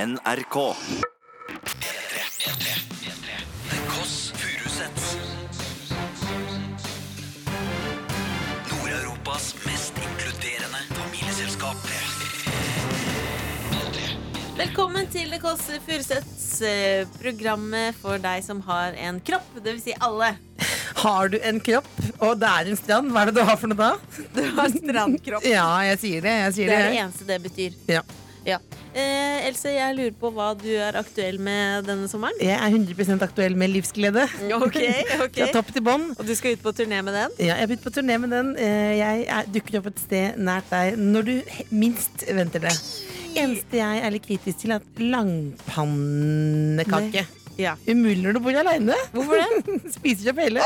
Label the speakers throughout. Speaker 1: NRK.
Speaker 2: The Koss Furusets Nord-Europas mest inkluderende familieselskap
Speaker 3: Velkommen til Det Kåss Furuseths eh, programmet for deg som har en kropp. Det vil si alle.
Speaker 4: Har du en kropp, og det er en strand, hva er det du har for noe da?
Speaker 3: Du har strandkropp.
Speaker 4: Ja, jeg sier det. Jeg
Speaker 3: Det
Speaker 4: sier det.
Speaker 3: er det eneste det betyr.
Speaker 4: Ja.
Speaker 3: Ja. Eh, Else, jeg lurer på hva du er aktuell med denne sommeren.
Speaker 4: Jeg er 100 aktuell med livsglede.
Speaker 3: Ok, Mm, ok.
Speaker 4: Fra topp til bånn.
Speaker 3: Og du skal ut på turné med den?
Speaker 4: Ja, jeg har begynt på turné med den. Eh, Jeg er, dukker opp et sted nært deg når du he- minst venter det. Eneste jeg er litt kritisk til, er at langpannekake.
Speaker 3: Ja.
Speaker 4: Umulig når du bor aleine.
Speaker 3: Hvorfor det?
Speaker 4: Spiser opp hele.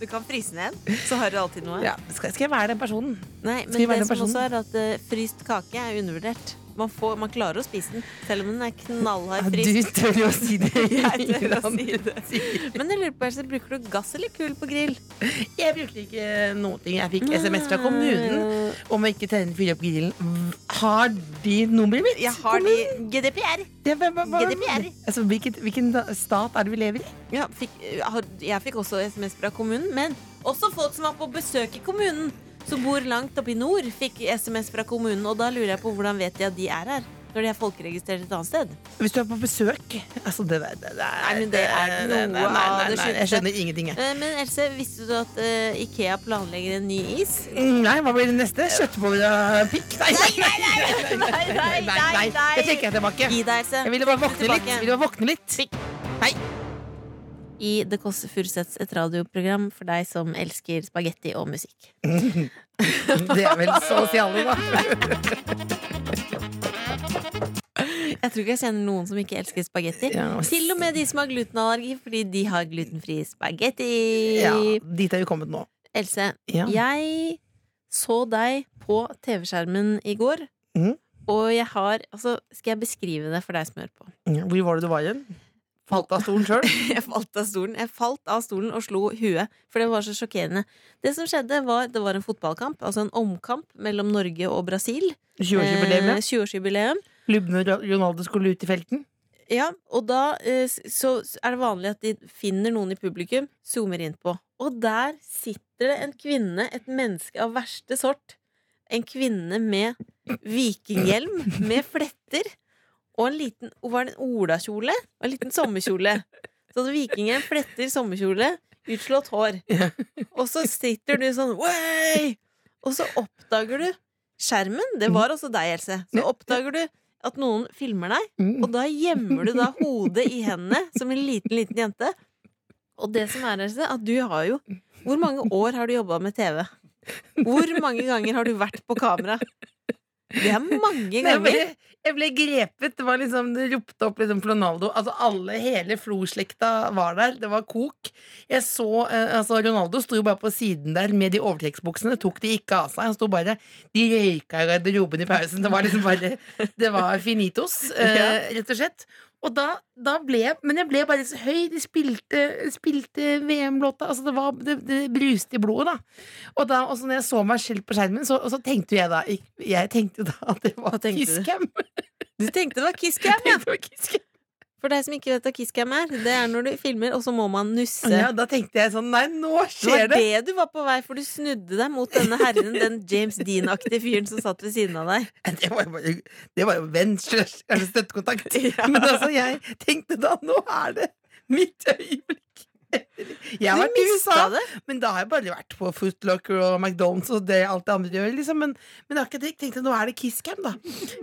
Speaker 3: Du kan fryse ned, så har du alltid noe.
Speaker 4: Ja, skal, skal jeg være den personen?
Speaker 3: Nei,
Speaker 4: Skal vi
Speaker 3: men
Speaker 4: være
Speaker 3: det som
Speaker 4: den personen?
Speaker 3: også er at eh, fryst kake er undervurdert. Man, får, man klarer å spise den, selv om den er knallhard
Speaker 4: Du
Speaker 3: fryst.
Speaker 4: tør jo å si det.
Speaker 3: Jeg tør å si det. Men jeg lurer på, Else, bruker du gass eller kull på grill?
Speaker 4: Jeg brukte ikke noen ting. Jeg
Speaker 3: Mm.
Speaker 4: fikk SMS fra kommunen om å ikke tenne fyre opp grillen. Har de nummeret mitt?
Speaker 3: Jeg har de GDPR.
Speaker 4: Ja, hva- hva- hva-
Speaker 3: GDPR.
Speaker 4: Altså, hvilken, hvilken da- stat er det vi lever i?
Speaker 3: Ja, fikk, eh, har- jeg fikk også SMS fra kommunen, men også folk som var på besøk i kommunen, som bor langt oppe i nord, fikk SMS fra kommunen. Og da lurer jeg på hvordan vet de at de er her, når de er folkeregistrert et annet sted?
Speaker 4: Hvis du er på besøk altså, det, det, det,
Speaker 3: Nei, men det er noe
Speaker 4: det- det- nei, nei,
Speaker 3: av det
Speaker 4: nei, Jeg
Speaker 3: skjønte.
Speaker 4: skjønner ingenting, jeg.
Speaker 3: Eh, Men Else, visste du at eh, Ikea planlegger en ny is?
Speaker 4: Mm, Nei, hva blir det neste? Kjøttboller av pikk? Nei,
Speaker 3: Nei, nei,
Speaker 4: nei, nei. Det trekker jeg tilbake.
Speaker 3: Gi deg, Else.
Speaker 4: Jeg ville bare våkne litt.
Speaker 3: Tilbake.
Speaker 4: Jeg Ville bare våkne litt.
Speaker 3: i The Kåss Furuseths, et radioprogram for deg som elsker spagetti og musikk.
Speaker 4: Det er vel så å si alle, da.
Speaker 3: Jeg tror ikke jeg kjenner noen som ikke elsker spagetti.
Speaker 4: Ja, s-
Speaker 3: Til og med de som har glutenallergi, fordi de har glutenfri spagetti.
Speaker 4: Ja, dit er vi kommet nå.
Speaker 3: Else,
Speaker 4: Ja.
Speaker 3: jeg så deg på TV-skjermen i går.
Speaker 4: Mhm.
Speaker 3: Og jeg har altså, Skal jeg beskrive det for deg som hører på?
Speaker 4: Hvor var det du var igjen? Falt av stolen sjøl?
Speaker 3: Jeg falt av stolen Jeg falt av stolen og slo huet, for det var så sjokkerende. Det som skjedde, var det var en fotballkamp, altså en omkamp mellom Norge og Brasil.
Speaker 4: 20-årsjubileum, ja.
Speaker 3: Eh, 20-årsjubileum.
Speaker 4: Lubne Ronaldo skulle ut i felten.
Speaker 3: Ja, og da eh, s- så s- er det vanlig at de finner noen i publikum, zoomer inn på. Og der sitter det en kvinne, et menneske av verste sort. En kvinne med vikinghjelm, med fletter, og en liten og Var det en olakjole? Og en liten sommerkjole. Så hadde vikinghjelm, fletter, sommerkjole, utslått hår. Og så sitter du sånn Way! Og så oppdager du skjermen. Det var også deg, Else. Så oppdager du at noen filmer deg. Og da gjemmer du da hodet i hendene som en liten, liten jente. Og det som er Else, at du har jo Hvor mange år har du jobba med TV? Hvor mange ganger har du vært på kamera? Det er mange
Speaker 4: Jeg ble,
Speaker 3: ganger.
Speaker 4: jeg ble grepet. Det var liksom, det ropte opp liksom Ronaldo. Altså alle, Hele Flo-slekta var der. Det var kok. Jeg så, eh, altså Ronaldo sto jo bare på siden der med de overtrekksbuksene. Tok de ikke av seg. Han sto bare De røyka i garderoben i pausen. Det var liksom bare Det var finitos, eh, rett og slett. Og da, da ble jeg Men jeg ble bare så høy. De spilte, spilte VM-låta. Altså det, var, det, det bruste i blodet, da. Og da, også når jeg så meg selv på skjermen, så, og så tenkte jeg da Jeg tenkte da at det var
Speaker 3: Hva tenkte du?
Speaker 4: Kisscam.
Speaker 3: Du tenkte det var kisscam, ja.
Speaker 4: Det var Kisscam.
Speaker 3: For deg som ikke vet hva kisscam er, det er når du filmer, og så må man nusse.
Speaker 4: Ja, da tenkte jeg sånn Nei, nå
Speaker 3: Det var
Speaker 4: skjer det!
Speaker 3: det du var på vei, for du snudde deg mot denne herren, den James Dean-aktige fyren som satt ved siden av deg.
Speaker 4: Det var jo, bare- det var jo venn slash eller støttekontakt.
Speaker 3: Ja.
Speaker 4: Men altså, jeg tenkte da Nå er det mitt øyeblikk. Jeg
Speaker 3: Du
Speaker 4: var i
Speaker 3: mista
Speaker 4: USA,
Speaker 3: det.
Speaker 4: men da har jeg bare vært på Footlocker og McDonald's og det alt det andre gjør, liksom. Men, men akkurat jeg tenkte nå er det Kisscam, da.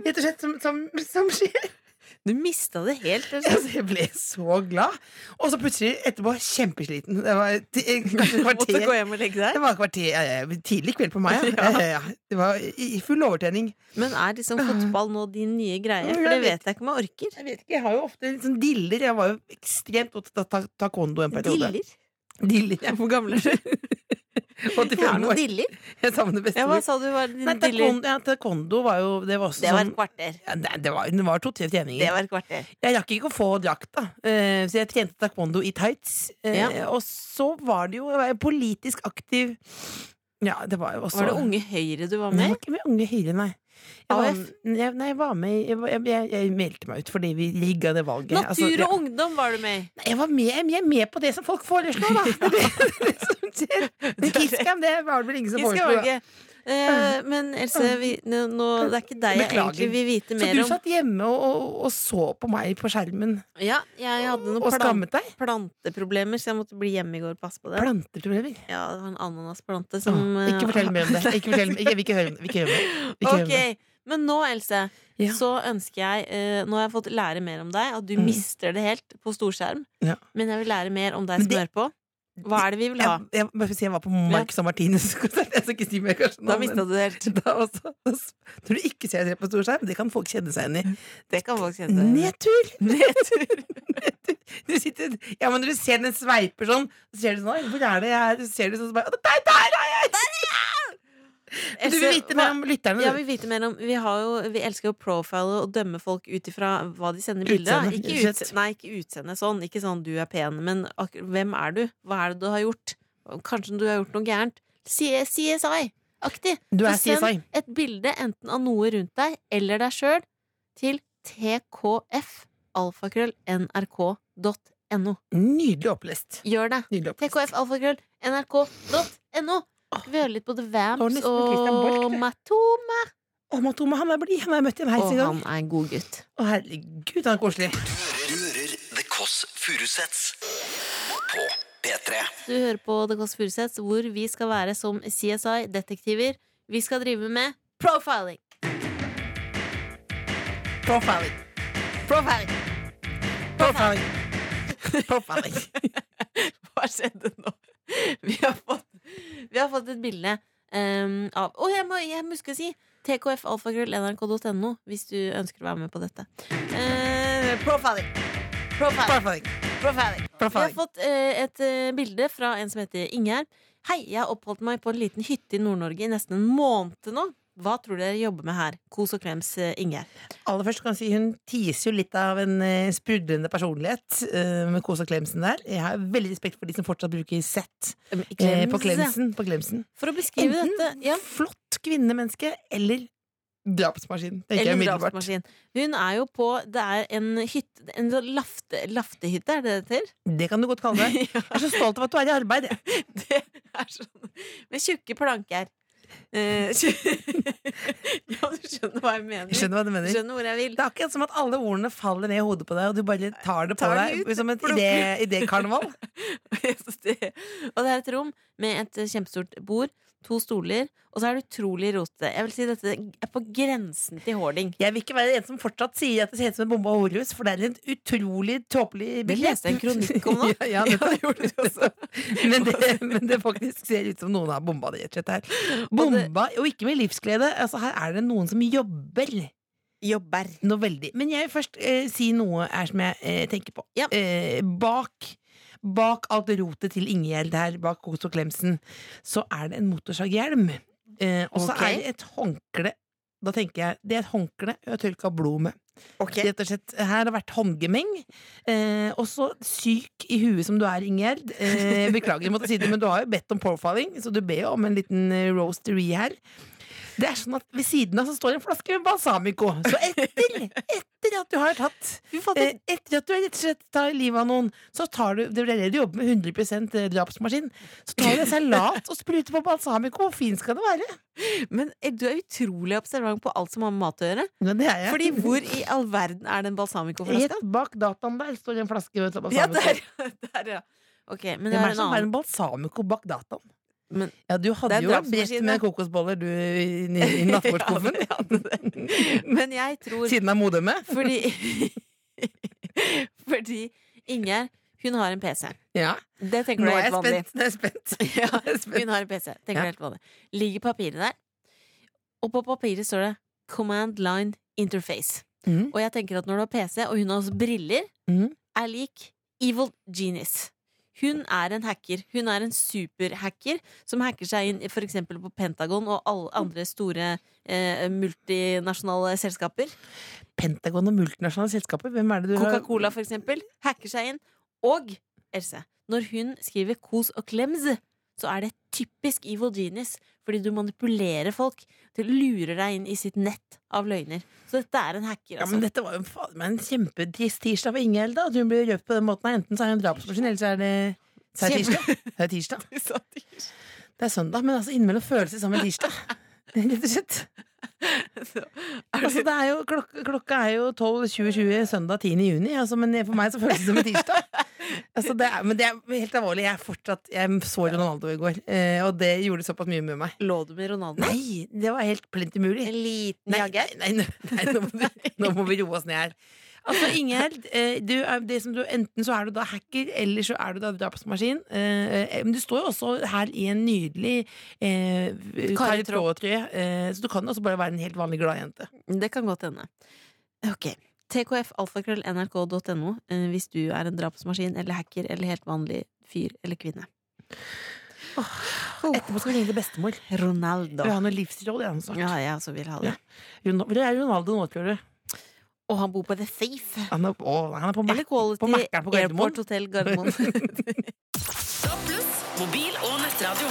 Speaker 4: Rett og slett som, som, som skjer.
Speaker 3: Du mista det helt. Else.
Speaker 4: Altså, jeg ble så glad. Og så plutselig etterpå kjempesliten. Det var ti- kanskje et
Speaker 3: Måtte gå
Speaker 4: kvarter.
Speaker 3: hjem og legge deg.
Speaker 4: Det var kvarter, ja, ja, tidlig kveld på meg. Ja. Ja, ja, ja. Det var i i full overtenning.
Speaker 3: Men er liksom fotball nå din nye greie?
Speaker 4: Jeg
Speaker 3: For det
Speaker 4: vet.
Speaker 3: vet jeg ikke om jeg orker.
Speaker 4: Jeg vet ikke, jeg har jo ofte litt sånn diller. Jeg var jo ekstremt opptatt av ta- taekwondo en periode.
Speaker 3: Diller?
Speaker 4: Diller. ja.
Speaker 3: Hvor gammel er du? Jeg har
Speaker 4: 85
Speaker 3: noen
Speaker 4: år.
Speaker 3: diller.
Speaker 4: Jeg savner
Speaker 3: Ja, hva
Speaker 4: bestemor.
Speaker 3: sa du var
Speaker 4: Nei,
Speaker 3: dine diller?
Speaker 4: taekwondo, ja, taekwondo var jo Det var også
Speaker 3: Det var
Speaker 4: sånn
Speaker 3: et kvarter.
Speaker 4: ja, det, det var, det var to-tre treninger.
Speaker 3: Det var et kvarter.
Speaker 4: Jeg rakk ikke å få drakta, eh, så jeg trente taekwondo i tights. eh,
Speaker 3: Ja.
Speaker 4: Og så var det jo jeg var jo politisk aktiv Ja, det var jo
Speaker 3: Var
Speaker 4: også
Speaker 3: det Unge Høyre du var med i?
Speaker 4: Nei, jeg var ikke med Unge Høyre, nei. Jeg var,
Speaker 3: AUF?
Speaker 4: jeg, nei, jeg var med i- jeg, var- jeg, jeg, jeg meldte meg ut fordi vi rigga det valget. Altså,
Speaker 3: Natur
Speaker 4: ja.
Speaker 3: og ungdom var du med i.
Speaker 4: Nei, jeg, var med, jeg er med på det som folk foreslår, da! Det er det, det, er det som skjer. Men Kisscam, det var det vel ingen som
Speaker 3: Giske
Speaker 4: foreslo. da.
Speaker 3: Valge. Eh, men Else, vi, nå, nå- det er ikke deg jeg
Speaker 4: Beklager.
Speaker 3: egentlig vil vite
Speaker 4: Så
Speaker 3: mer
Speaker 4: du
Speaker 3: om.
Speaker 4: satt hjemme og, og, og så på meg på skjermen
Speaker 3: Ja, jeg hadde
Speaker 4: og
Speaker 3: noen plan
Speaker 4: skammet deg?
Speaker 3: planteproblemer, så jeg måtte bli hjemme i går og passe på det.
Speaker 4: Planteproblemer.
Speaker 3: Ja, det var en ananasplante som
Speaker 4: Åh, Ikke
Speaker 3: eh,
Speaker 4: fortell mer om det. Ikke fortell, ikke, jeg vil ikke høre om det. Ikke høre om det. Ikke høre om
Speaker 3: Ok,
Speaker 4: det.
Speaker 3: men nå, Else,
Speaker 4: Ja.
Speaker 3: så ønsker jeg eh, Nå har jeg fått lære mer om deg, at du
Speaker 4: Mm.
Speaker 3: mister det helt på storskjerm.
Speaker 4: Ja.
Speaker 3: Men jeg vil lære mer om deg
Speaker 4: Men
Speaker 3: som hører på. Hva er det vi vil ha?
Speaker 4: Jeg, jeg, bare for å si, jeg var på Marcus og Martinus konsert. Jeg skal ikke si mer, kanskje. nå,
Speaker 3: Da
Speaker 4: men-
Speaker 3: mista du det helt.
Speaker 4: da også. Når du ikke ser det på stor skjerm, det kan folk kjenne seg igjen i.
Speaker 3: Det kan folk kjenne seg igjen i.
Speaker 4: Nedtur! Nedtur. Du sitter, ja, men når du ser den sveiper sånn, så ser du sånn «Oi, Hvor er det jeg er? Så ser du sånn så bare, «Å, Der, der er jeg! Men Du vil
Speaker 3: Else,
Speaker 4: vite
Speaker 3: hva-
Speaker 4: mer om lytterne.
Speaker 3: Ja,
Speaker 4: du.
Speaker 3: vi, vet mer om, vi, har jo, vi elsker jo profile og dømme folk ut ifra hva de sender bilder av.
Speaker 4: Utseende,
Speaker 3: Ikke,
Speaker 4: rett og
Speaker 3: utse-
Speaker 4: slett.
Speaker 3: nei, ikke utseende sånn. Ikke sånn 'du er pen', men ak hvem er du? Hva er det du har gjort? Kanskje du har gjort noe gærent? CSI-aktig.
Speaker 4: Du er
Speaker 3: Så send
Speaker 4: CSI.
Speaker 3: et bilde enten av noe rundt deg eller deg sjøl til tkf.alfakrøll.nrk.no.
Speaker 4: Nydelig opplest.
Speaker 3: Gjør det.
Speaker 4: Nydelig opplest.
Speaker 3: tkf.alfakrøll.nrk.no. Skal vi høre litt på The Vamps
Speaker 4: nesten Christian Borch,
Speaker 3: og
Speaker 4: det.
Speaker 3: Matoma?
Speaker 4: Å, Matoma, han er blid. Han har jeg møtt i en heis
Speaker 3: Og
Speaker 4: en
Speaker 3: han
Speaker 4: gang.
Speaker 3: er en god gutt.
Speaker 4: Å, herregud, han er koselig.
Speaker 2: Du hører, du hører The Kåss Furuseths på P3.
Speaker 3: Du hører på The Kåss Furuseths, hvor vi skal være som CSI-detektiver. Vi skal drive med profiling.
Speaker 4: Profiling.
Speaker 3: Profiling!
Speaker 4: Profiling. Profiling.
Speaker 3: Hva skjedde nå? Vi har fått, vi har fått et bilde ehm, av Å, jeg, må, jeg må huske å si! tkfalfakrøll.nrk.no hvis du ønsker å være med på dette. Eh, profiling. profiling.
Speaker 4: Profiling.
Speaker 3: Profiling. Vi har
Speaker 4: Profiling.
Speaker 3: fått eh, et eh, bilde fra en som heter Ingjerd. Hei, jeg har oppholdt meg på en liten hytte i Nord-Norge i nesten en måned nå. Hva tror dere jeg jobber med her? Kos og klems, eh, Ingjerd.
Speaker 4: Aller først kan jeg si hun teaser jo litt av en eh, sprudlende personlighet eh, med Kåsa Klemsen der. Jeg har veldig respekt for de som fortsatt bruker Z eh, på Klemsen. På Klemsen.
Speaker 3: For å beskrive
Speaker 4: Enten
Speaker 3: dette ja.
Speaker 4: flott kvinnemenneske eller drapsmaskin. Tenker jeg
Speaker 3: Eller
Speaker 4: umiddelbart.
Speaker 3: drapsmaskin. Hun er jo på Det er en hytte En sånn lafte, laftehytte, er det det heter?
Speaker 4: Det kan du godt kalle det.
Speaker 3: ja,
Speaker 4: Jeg er så stolt av at du er i arbeid. jeg.
Speaker 3: det er sånn Med tjukke planker. Eh, ja, du skjønner hva jeg mener.
Speaker 4: Jeg skjønner hva du mener.
Speaker 3: skjønner hvor jeg vil.
Speaker 4: Det er akkurat som at alle ordene faller ned i hodet på deg, og du bare tar det på
Speaker 3: Tar det
Speaker 4: deg
Speaker 3: ut,
Speaker 4: som et
Speaker 3: plukker.
Speaker 4: idé- idékarneval.
Speaker 3: Jeg synes det- og det er et rom med et eh, kjempestort bord, to stoler, og så er det utrolig rotete. Jeg vil si dette er på grensen til hoarding.
Speaker 4: Jeg vil ikke være en som fortsatt sier at det ser ut som en bombe av Horus, for det er en utrolig tåpelig
Speaker 3: Det
Speaker 4: bilde.
Speaker 3: leste jeg en kronikk om nå.
Speaker 4: ja, ja, det gjorde du også. Men det, men det faktisk ser ut som noen har bomba det, rett og slett. her. Bomba, og ikke med livsglede. Altså, her er det noen som jobber
Speaker 3: Jobber.
Speaker 4: noe veldig. Men jeg vil først eh, si noe her som jeg eh, tenker på.
Speaker 3: Ja.
Speaker 4: Eh, bak Bak alt rotet til Ingjerd her, bak Kos og Klemsen, så er det en motorsaghjelm. Eh, og så
Speaker 3: Ok.
Speaker 4: er det et håndkle. Da tenker jeg, Det er et håndkle jeg har tørka blod med.
Speaker 3: Okay.
Speaker 4: Rett og slett, Her har det vært håndgemeng. Eh, og så syk i huet som du er, Ingjerd. Eh, beklager, jeg måtte si det, men du har jo bedt om profiling, så du ber jo om en liten eh, roastery her. Det er sånn at Ved siden av så står en flaske med balsamico. Så etter, etter at du har tatt
Speaker 3: Fy fader.
Speaker 4: eh, Etter at du rett og slett tar livet av noen, så tar du Det er det du jobber med 100 drapsmaskin. Så tar du en salat og spruter på balsamico. Hvor fin skal det være?
Speaker 3: Men eh, du er utrolig observant på alt som har med mat å gjøre.
Speaker 4: Ja, det er jeg.
Speaker 3: Fordi hvor i all verden er den
Speaker 4: Rett
Speaker 3: balsamicoflaska?
Speaker 4: bak dataen der står en flaske med balsamico.
Speaker 3: Ja, der, der, ja. Ok, men det er
Speaker 4: Hvem er det
Speaker 3: en
Speaker 4: som har
Speaker 3: annen.
Speaker 4: en balsamico bak dataen?
Speaker 3: Men-
Speaker 4: ja, du
Speaker 3: Det
Speaker 4: hadde
Speaker 3: er
Speaker 4: jo et brett
Speaker 3: drapsmaskinen.
Speaker 4: med kokosboller du i, i, i nattbordskuffen.
Speaker 3: Ja, Men jeg tror
Speaker 4: Siden av eh. modemet.
Speaker 3: Fordi Fordi Ingjerd, hun har en PC.
Speaker 4: Ja.
Speaker 3: Det tenker
Speaker 4: Nå
Speaker 3: du
Speaker 4: er
Speaker 3: er
Speaker 4: jeg
Speaker 3: helt vanlig.
Speaker 4: spent. Nå er jeg spent.
Speaker 3: Ja,
Speaker 4: Nå er jeg spent.
Speaker 3: hun har en PC. Tenker du
Speaker 4: Ja.
Speaker 3: er helt vanlig. Ligger papiret der, og på papiret står det 'Command Line Interface'.
Speaker 4: Mhm.
Speaker 3: Og jeg tenker at når du har PC, og hun har også briller,
Speaker 4: Mhm.
Speaker 3: er lik Evil Genius. Hun er en hacker. Hun er en superhacker som hacker seg inn i for eksempel på Pentagon og alle andre store eh, multinasjonale selskaper.
Speaker 4: Pentagon og multinasjonale selskaper, hvem er det du har-
Speaker 3: Coca-Cola, for eksempel, hacker seg inn. Og Else, når hun skriver kos og klems, så er det typisk evil genius. Fordi du manipulerer folk til å lure deg inn i sitt nett av løgner. Så dette er en hacker,
Speaker 4: Ja, men
Speaker 3: altså.
Speaker 4: dette var jo faen meg en kjempetrist tirsdag for Ingjeld. da At hun blir røpt på den måten. her. Enten så er hun drapsmaskin, eller så er det så er det
Speaker 3: Kjempe-
Speaker 4: tirsdag. Det er tirsdag.
Speaker 3: Satir.
Speaker 4: Det er søndag, men altså innimellom føles det som en tirsdag. Rett og slett. Altså, det er jo, klok klokka er jo 12.20 søndag 10. juni, altså, men for meg så føles det som en tirsdag. Altså, det er, men det er helt alvorlig. Jeg, er fortsatt, jeg så Ronaldo i går, eh, og det gjorde såpass mye med meg.
Speaker 3: Lå du med Ronaldo?
Speaker 4: Nei, det var helt plent umulig.
Speaker 3: En liten
Speaker 4: Nei,
Speaker 3: jager?
Speaker 4: nei, nei, nei, nå, må vi, nå må vi roe oss ned her. Altså, Ingjerd, eh, du er det som du, enten så er du da hacker, eller så er du da drapsmaskin. Eh, eh, Men du står jo også her i en nydelig eh,
Speaker 3: Kari
Speaker 4: Kari Traa-trøye, eh, så du kan jo også bare være en helt vanlig gladjente.
Speaker 3: Det kan godt hende. Ok. tkfalfakrøllnrk.no eh, hvis du er en drapsmaskin eller hacker eller helt vanlig fyr eller kvinne. Oh.
Speaker 4: Etterpå skal vi ringe til bestemor.
Speaker 3: Ronaldo.
Speaker 4: Vi har noe livsråd igjen snart.
Speaker 3: Ja, jeg også vil ha det.
Speaker 4: Ron- Hvor er Ronaldo nå, tror du?
Speaker 3: Og han bor på The Thief.
Speaker 4: Han er, å, nei, han er på
Speaker 3: Eller
Speaker 4: Mac. på
Speaker 3: Quality
Speaker 4: Mac'eren på Gardermoen.
Speaker 3: Airport Hotel Gardermoen.
Speaker 1: Mobil og nettradio.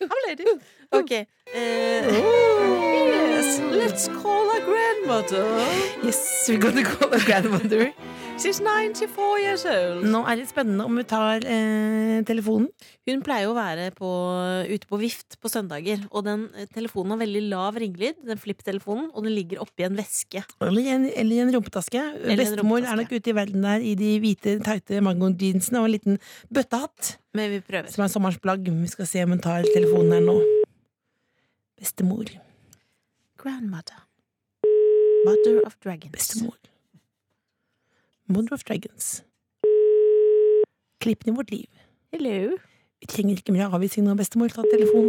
Speaker 2: P3.
Speaker 3: ok. eh, let's call her grandmother.
Speaker 4: Yes, we gonna call a grandmother.
Speaker 3: She's 94 years old.
Speaker 4: Nå er det spennende om vi tar eh, telefonen.
Speaker 3: Hun pleier jo å være på, ute på vift på søndager, og den eh, telefonen har veldig lav ringelyd, den flipptelefonen, og den ligger oppi en veske.
Speaker 4: Eller i en, eller i en rumpetaske.
Speaker 3: en
Speaker 4: Bestemor er
Speaker 3: rumpetaske.
Speaker 4: nok ute i verden der i de hvite, tighte mango-jeansene og en liten bøttehatt.
Speaker 3: Men vi prøver.
Speaker 4: Som er sommerens plagg. Vi skal se om hun tar telefonen her nå. Bestemor.
Speaker 3: Grandmother. Mother of dragons.
Speaker 4: Bestemor. Mother of Dragons. Klippen i vårt liv.
Speaker 3: Hello.
Speaker 4: Vi trenger ikke mer avvisning nå, bestemor. Ta telefonen.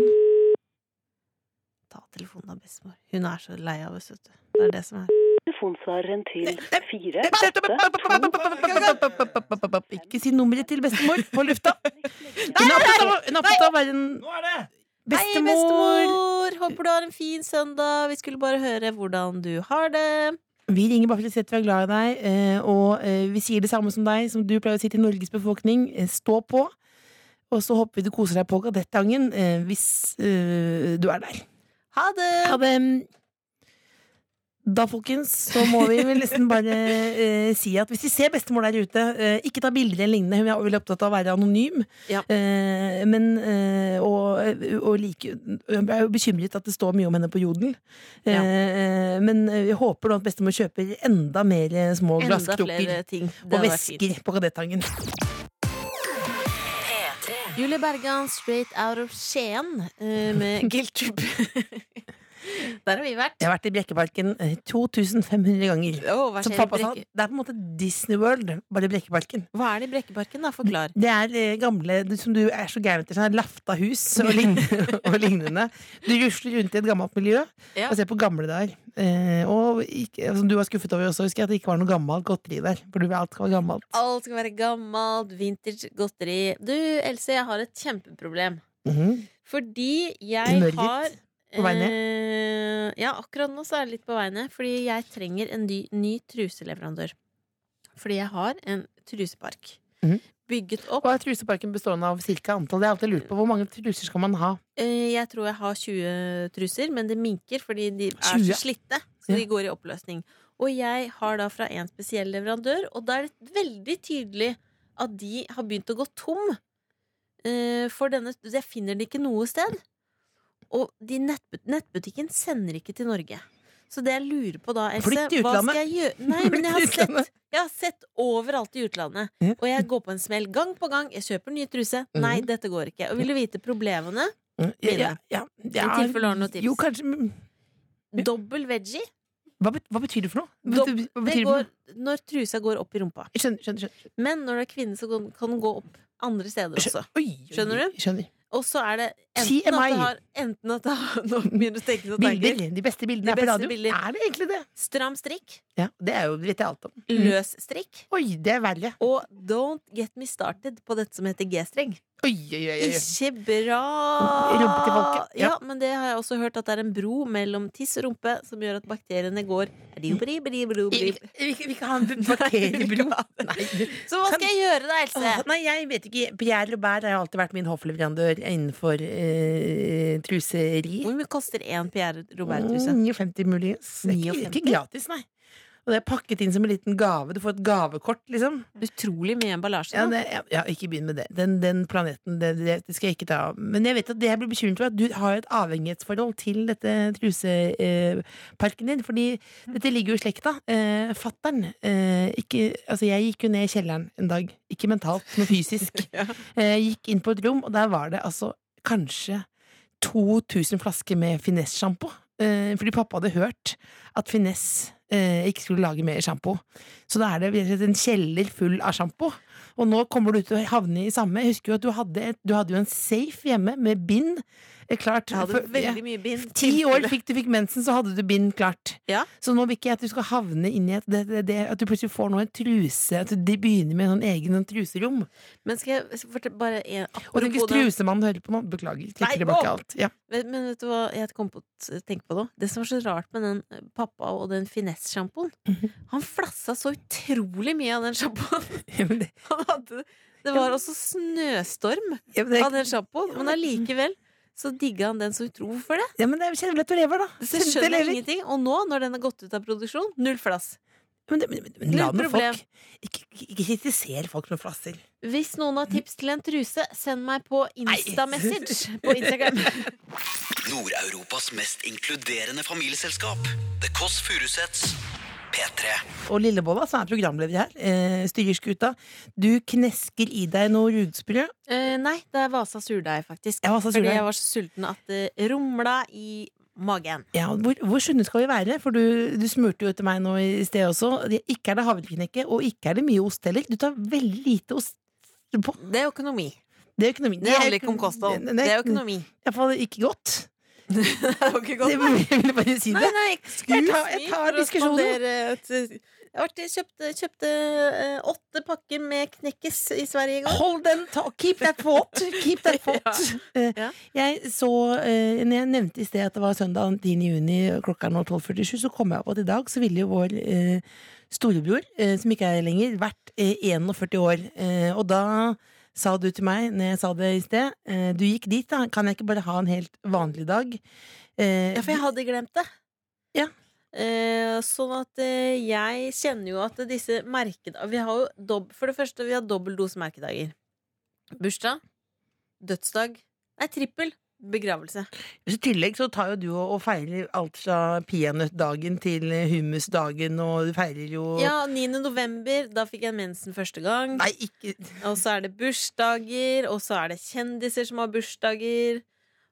Speaker 3: Ta telefonen av bestemor. Hun er så lei av oss, vet du. Det er det som er.
Speaker 5: telefonsvareren til fire
Speaker 4: Ikke si nummeret til bestemor på lufta. Hun er opptatt av- hun er opptatt av å være en
Speaker 3: Hei,
Speaker 4: Bestemor!
Speaker 3: bestemor! Håper du har en fin søndag. Vi skulle bare høre hvordan du har det.
Speaker 4: Vi ringer bare for å si at vi er glad i deg, eh, og eh, vi sier det samme som deg, som du pleier å si til Norges befolkning. eh, Stå på. Og så håper vi du koser deg på kadettangen eh, hvis eh, du er der.
Speaker 3: Ha det!
Speaker 4: Ha det. Da, folkens, så må vi vel nesten bare eh, si at hvis vi ser bestemor der ute, eh, ikke ta bilder eller lignende. Hun er veldig opptatt av å være anonym.
Speaker 3: Ja.
Speaker 4: Eh, men, eh, og, og like, hun er jo bekymret at det står mye om henne på Jodel. Eh, men eh, vi håper nå at bestemor kjøper enda mer eh, små
Speaker 3: Enda flere
Speaker 4: glasskrukker
Speaker 3: ting. Det
Speaker 4: og
Speaker 3: hadde vært fint.
Speaker 4: vesker på Kadettangen.
Speaker 3: Julie Bergan, Straight Out of Skien, eh, med Guilt Trip. Der har vi vært.
Speaker 4: Jeg har vært i Brekkeparken eh, 2500 ganger.
Speaker 3: Åh, hva,
Speaker 4: Som
Speaker 3: skjer i
Speaker 4: pappa sa,
Speaker 3: Brekke-
Speaker 4: det er på en måte Disney World, bare i Brekkeparken.
Speaker 3: hva er det i Brekkeparken, da? Forklar.
Speaker 4: Det er eh, gamle, du- som du er så gæren etter, sånn lafta hus og, lignende, og lignende. Du rusler rundt i et gammelt miljø
Speaker 3: Ja.
Speaker 4: og ser på gamle der. Eh, og ikke, som du var skuffet over også, husker jeg at det ikke var noe gammelt godteri der. For du vil alt skal være gammelt.
Speaker 3: Alt skal være gammelt, vintage, godteri. Du, Else, jeg har et kjempeproblem.
Speaker 4: Mhm.
Speaker 3: Fordi jeg
Speaker 4: Humøret ditt
Speaker 3: har
Speaker 4: på vei
Speaker 3: eh, ja, akkurat nå så er det litt på vei ned. Fordi jeg trenger en ny, ny truseleverandør. Fordi jeg har en trusepark.
Speaker 4: Mhm.
Speaker 3: Bygget opp
Speaker 4: Og er truseparken bestående av cirka antall? Det har jeg alltid lurt på. Hvor mange truser skal man ha?
Speaker 3: Eh, Jeg tror jeg har 20 truser, men det minker fordi de er
Speaker 4: 20?
Speaker 3: så slitte. Så de går i oppløsning. Og jeg har da fra en spesiell leverandør, og da er det veldig tydelig at de har begynt å gå tom. eh, For denne Jeg finner det ikke noe sted. Og de nettbut nettbutikken sender ikke til Norge. Så det jeg lurer på da, Else
Speaker 4: Flytt til
Speaker 3: hva
Speaker 4: utlandet.
Speaker 3: skal jeg gjøre? Nei, men jeg har
Speaker 4: Flytt til
Speaker 3: sett
Speaker 4: utlandet.
Speaker 3: jeg har sett overalt i utlandet,
Speaker 4: Ja. Mhm.
Speaker 3: og jeg går på en smell gang på gang. Jeg kjøper ny truse. Nei, dette går ikke. Og vil du vite problemene?
Speaker 4: Mm, Ja, ja, ja, ja.
Speaker 3: I tilfelle du har noen tips.
Speaker 4: Jo, kanskje men
Speaker 3: Dobbel veggie.
Speaker 4: hva, bet- hva betyr det for noe?
Speaker 3: Dob-
Speaker 4: Hva betyr- hva
Speaker 3: Det
Speaker 4: betyr det for
Speaker 3: går
Speaker 4: noe?
Speaker 3: når trusa går opp i rumpa.
Speaker 4: Skjønner, skjønner, skjønner. Altså,
Speaker 3: Men når det er kvinne, så kan kan den gå opp andre steder også.
Speaker 4: Oi, oi, oi.
Speaker 3: Skjønner du?
Speaker 4: Skjønner.
Speaker 3: Og så er det
Speaker 4: Si
Speaker 3: enten at
Speaker 4: meg.
Speaker 3: det har Enten at det har Nå begynner du å tenke noen tanker.
Speaker 4: Bilder. De beste
Speaker 3: De
Speaker 4: bildene er på
Speaker 3: beste
Speaker 4: radio.
Speaker 3: bilder.
Speaker 4: Er det egentlig det?
Speaker 3: Stram strikk.
Speaker 4: Ja, Det er jo, vet jeg alt om.
Speaker 3: Løs strikk.
Speaker 4: Oi, det er verre.
Speaker 3: Og don't get me started på dette som heter G-streng.
Speaker 4: Oi, oi, oi, oi.
Speaker 3: Ikke bra!
Speaker 4: Rumpe til folket, ja.
Speaker 3: Ja, men det har jeg også hørt at det er en bro mellom tiss og rumpe som gjør at bakteriene går
Speaker 4: Vi,
Speaker 3: Så
Speaker 4: vi, vi kan ha en bakteriebro. Nei,
Speaker 3: hva skal jeg gjøre da, Else?
Speaker 4: Åh, nei, jeg vet ikke. Pierre Robert har jo alltid vært min hoffleverandør innenfor eh, truseri.
Speaker 3: Hvor mye koster én Pierre
Speaker 4: Mm.
Speaker 3: Robert-truse?
Speaker 4: 59 muligens. Det er ikke,
Speaker 3: 59?
Speaker 4: ikke gratis, nei. Og det er pakket inn som en liten gave. Du får et gavekort, liksom.
Speaker 3: Utrolig mye emballasje.
Speaker 4: Ja,
Speaker 3: nå.
Speaker 4: det, ja, ja, ikke begynn med det. Den, den planeten, det, det, det skal jeg ikke ta av. Men jeg vet at det jeg blir bekymret for, er at du har et avhengighetsforhold til dette truseparken eh, parken din. Fordi dette ligger jo i slekta. Eh, Fattern eh, ikke- Altså, jeg gikk jo ned i kjelleren en dag. Ikke mentalt, men fysisk.
Speaker 3: Ja.
Speaker 4: eh, gikk inn på et rom, og der var det altså kanskje 2000 flasker med finesse-sjampo. Eh, fordi pappa hadde hørt at finesse eh, ikke skulle lage mer sjampo. Så da er det rett og slett en kjeller full av sjampo. Og nå kommer du til å havne i samme. Jeg husker jo at du hadde, et, du hadde jo en safe hjemme med bind. eh, Klart.
Speaker 3: Jeg hadde
Speaker 4: for- ja.
Speaker 3: veldig mye bind.
Speaker 4: Ti år fikk du fikk mensen, så hadde du bind klart.
Speaker 3: Ja.
Speaker 4: Så nå vil ikke jeg at du skal havne inn i et, det, det, det, at du plutselig får nå en truse. At de begynner med en sånn egen sånn truserom.
Speaker 3: Men skal jeg fortelle bare en
Speaker 4: Og tenk hvis
Speaker 3: apropos det.
Speaker 4: trusemannen hører på nå. Beklager.
Speaker 3: Nei,
Speaker 4: Trekker tilbake
Speaker 3: å!
Speaker 4: alt. Ja.
Speaker 3: Men, men vet du hva jeg kom på, å tenke på nå? Det som var så rart med den eh, pappa og den finesse-sjampoen
Speaker 4: Mhm.
Speaker 3: Han flassa så utrolig mye av den sjampoen!
Speaker 4: Ja, men det,
Speaker 3: Han hadde Det var også snøstorm
Speaker 4: ja, men det,
Speaker 3: av den sjampoen, men allikevel så digga han den så utro. Hvorfor det?
Speaker 4: ja, men det er kjempegodt å leve, da.
Speaker 3: Så jeg skjønner ingenting. Og nå, når den har gått ut av produksjon, null flass.
Speaker 4: Men, det- men, men, men
Speaker 3: Null
Speaker 4: la nå
Speaker 3: problem.
Speaker 4: folk Ikke, ikke kritiser folk med flasser.
Speaker 3: Hvis noen har tips til en truse, send meg på Insta-message på Instagram.
Speaker 2: Nord-Europas mest inkluderende familieselskap. The Kåss Furuseths. P3.
Speaker 4: Og Lillebolla, som er programleder her, eh, styrer skuta. Du knesker i deg noe rugsprø.
Speaker 3: Eh, nei, det er Vasa surdeig, faktisk.
Speaker 4: Ja, hva sa
Speaker 3: Fordi
Speaker 4: Solveig?
Speaker 3: jeg var så sulten at det rumla i magen.
Speaker 4: Ja, hvor, hvor sunne skal vi være? For du, du smurte jo etter meg nå i sted også. Det- Ikke er det havreknekke, og ikke er det mye ost heller. Du tar veldig lite ost. På.
Speaker 3: Det er økonomi.
Speaker 4: Det er økonomi.
Speaker 3: Det handler ikke om kosthold. Det er
Speaker 4: økonomi.
Speaker 3: økonomi.
Speaker 4: Iallfall ikke godt.
Speaker 3: Det er jo ikke
Speaker 4: Det,
Speaker 3: nei.
Speaker 4: jeg vil bare si
Speaker 3: Nei,
Speaker 4: det.
Speaker 3: nei, excuse
Speaker 4: Jeg tar- jeg
Speaker 3: me
Speaker 4: tar
Speaker 3: for å
Speaker 4: diskusjonen.
Speaker 3: spandere et- eh, Jeg har vært- jeg kjøpte, kjøpte eh, åtte pakker med Knekkes i Sverige i går.
Speaker 4: Hold den ta Keep that thought! Keep that thought. Eh,
Speaker 3: Ja.
Speaker 4: Jeg så eh, Når jeg nevnte i sted at det var søndag 10. juni, og klokka er nå 12.47, så kom jeg på at i dag så ville jo vår eh, storebror, eh, som ikke er her lenger, vært eh, 41 år. Eh, og da sa du til meg, når jeg sa det i sted, eh, du gikk dit, da. Kan jeg ikke bare ha en helt vanlig dag? Eh,
Speaker 3: Ja, for jeg hadde glemt det.
Speaker 4: Ja.
Speaker 3: Eh, sånn at eh, jeg kjenner jo at disse merkedager Vi har jo dob For det første, vi har dobbel dose merkedager. Bursdag, dødsdag Nei, trippel. Begravelse.
Speaker 4: I tillegg så tar jo du og, og feirer alt fra peanøttdagen til eh, hummusdagen, og du feirer jo
Speaker 3: Ja, 9. november. Da fikk jeg mensen første gang.
Speaker 4: Nei, ikke
Speaker 3: Og så er det bursdager, og så er det kjendiser som har bursdager.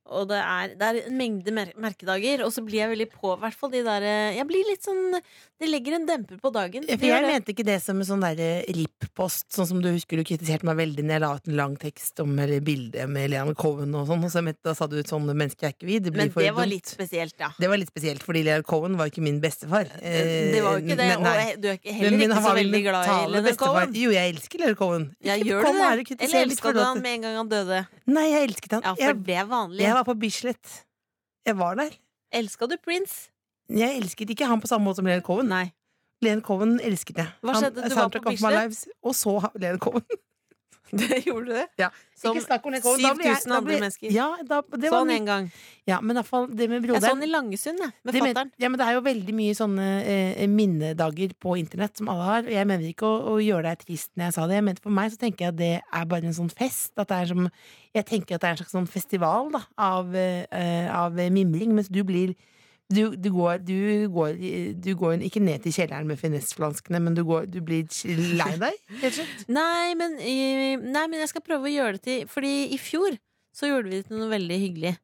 Speaker 3: Og det er, det er en mengde mer merkedager. Og så blir jeg veldig på, i hvert fall de der eh, Jeg blir litt sånn Det legger en demper på dagen.
Speaker 4: For
Speaker 3: Det gjør
Speaker 4: jeg
Speaker 3: det.
Speaker 4: mente ikke det som en sånn der eh, RIP-post, sånn som du husker du kritiserte meg veldig når jeg la ut en lang tekst om eller bilde med Leanne Cohen og sånn, og så mente, da sa du et sånt menneske er ikke vi. Det blir
Speaker 3: Men
Speaker 4: for
Speaker 3: det var
Speaker 4: dumt. Eh,
Speaker 3: litt spesielt, ja.
Speaker 4: Det var litt spesielt, fordi Leanne Cohen var ikke min bestefar. Eh,
Speaker 3: Det var jo ikke det,
Speaker 4: nei,
Speaker 3: og
Speaker 4: nei.
Speaker 3: jeg- du er ikke-
Speaker 4: Men
Speaker 3: heller
Speaker 4: min-
Speaker 3: ikke
Speaker 4: han
Speaker 3: så
Speaker 4: var min
Speaker 3: veldig glad i
Speaker 4: mentale
Speaker 3: Leonard
Speaker 4: bestefar.
Speaker 3: Cohen.
Speaker 4: Jo, jeg elsker Leanne Cohen.
Speaker 3: Jeg
Speaker 4: Ikke
Speaker 3: gjør
Speaker 4: kom her og
Speaker 3: du det?
Speaker 4: kritiser
Speaker 3: Eller
Speaker 4: litt for
Speaker 3: elska du
Speaker 4: at-
Speaker 3: han med en gang han døde?
Speaker 4: Nei, jeg elsket han.
Speaker 3: Ja, for
Speaker 4: jeg,
Speaker 3: det er vanlig.
Speaker 4: jeg var på Bislett. Jeg var der.
Speaker 3: Elska du Prince?
Speaker 4: Jeg elsket ikke han på samme måte som Leanne Cohen.
Speaker 3: Nei.
Speaker 4: Len Coven elsket jeg.
Speaker 3: Hva skjedde? Du var
Speaker 4: soundtrack
Speaker 3: på
Speaker 4: of my
Speaker 3: Bislett?
Speaker 4: lives, og så ha- Len Coven.
Speaker 3: Det gjorde du det?
Speaker 4: Ja.
Speaker 3: Som
Speaker 4: Ikke snakk om Len Coven. Da ble jeg-
Speaker 3: 7000
Speaker 4: da
Speaker 3: andre
Speaker 4: ble-
Speaker 3: mennesker.
Speaker 4: Ja, da, det var
Speaker 3: sånn
Speaker 4: mye-
Speaker 3: en gang.
Speaker 4: ja, men i hvert fall det med
Speaker 3: Jeg så han
Speaker 4: broderen
Speaker 3: i Langesund, jeg. Med
Speaker 4: det, men-
Speaker 3: fatter'n.
Speaker 4: ja, men det er jo veldig mye sånne eh, minnedager på internett som alle har. Og jeg mener ikke å, å gjøre deg trist når jeg sa det. Jeg mente For meg så tenker jeg at det er bare en sånn fest. At det er som, jeg tenker at det er en slags sånn festival da, av, eh, eh, av mimring, mens du blir du, du, går, du, går, du går ikke ned til kjelleren med finesseflanskene, men du, går, du blir lei deg, rett og slett.
Speaker 3: Nei, men, eh, nei, men jeg skal prøve å gjøre det til Fordi i fjor så gjorde vi det til noe veldig hyggelig.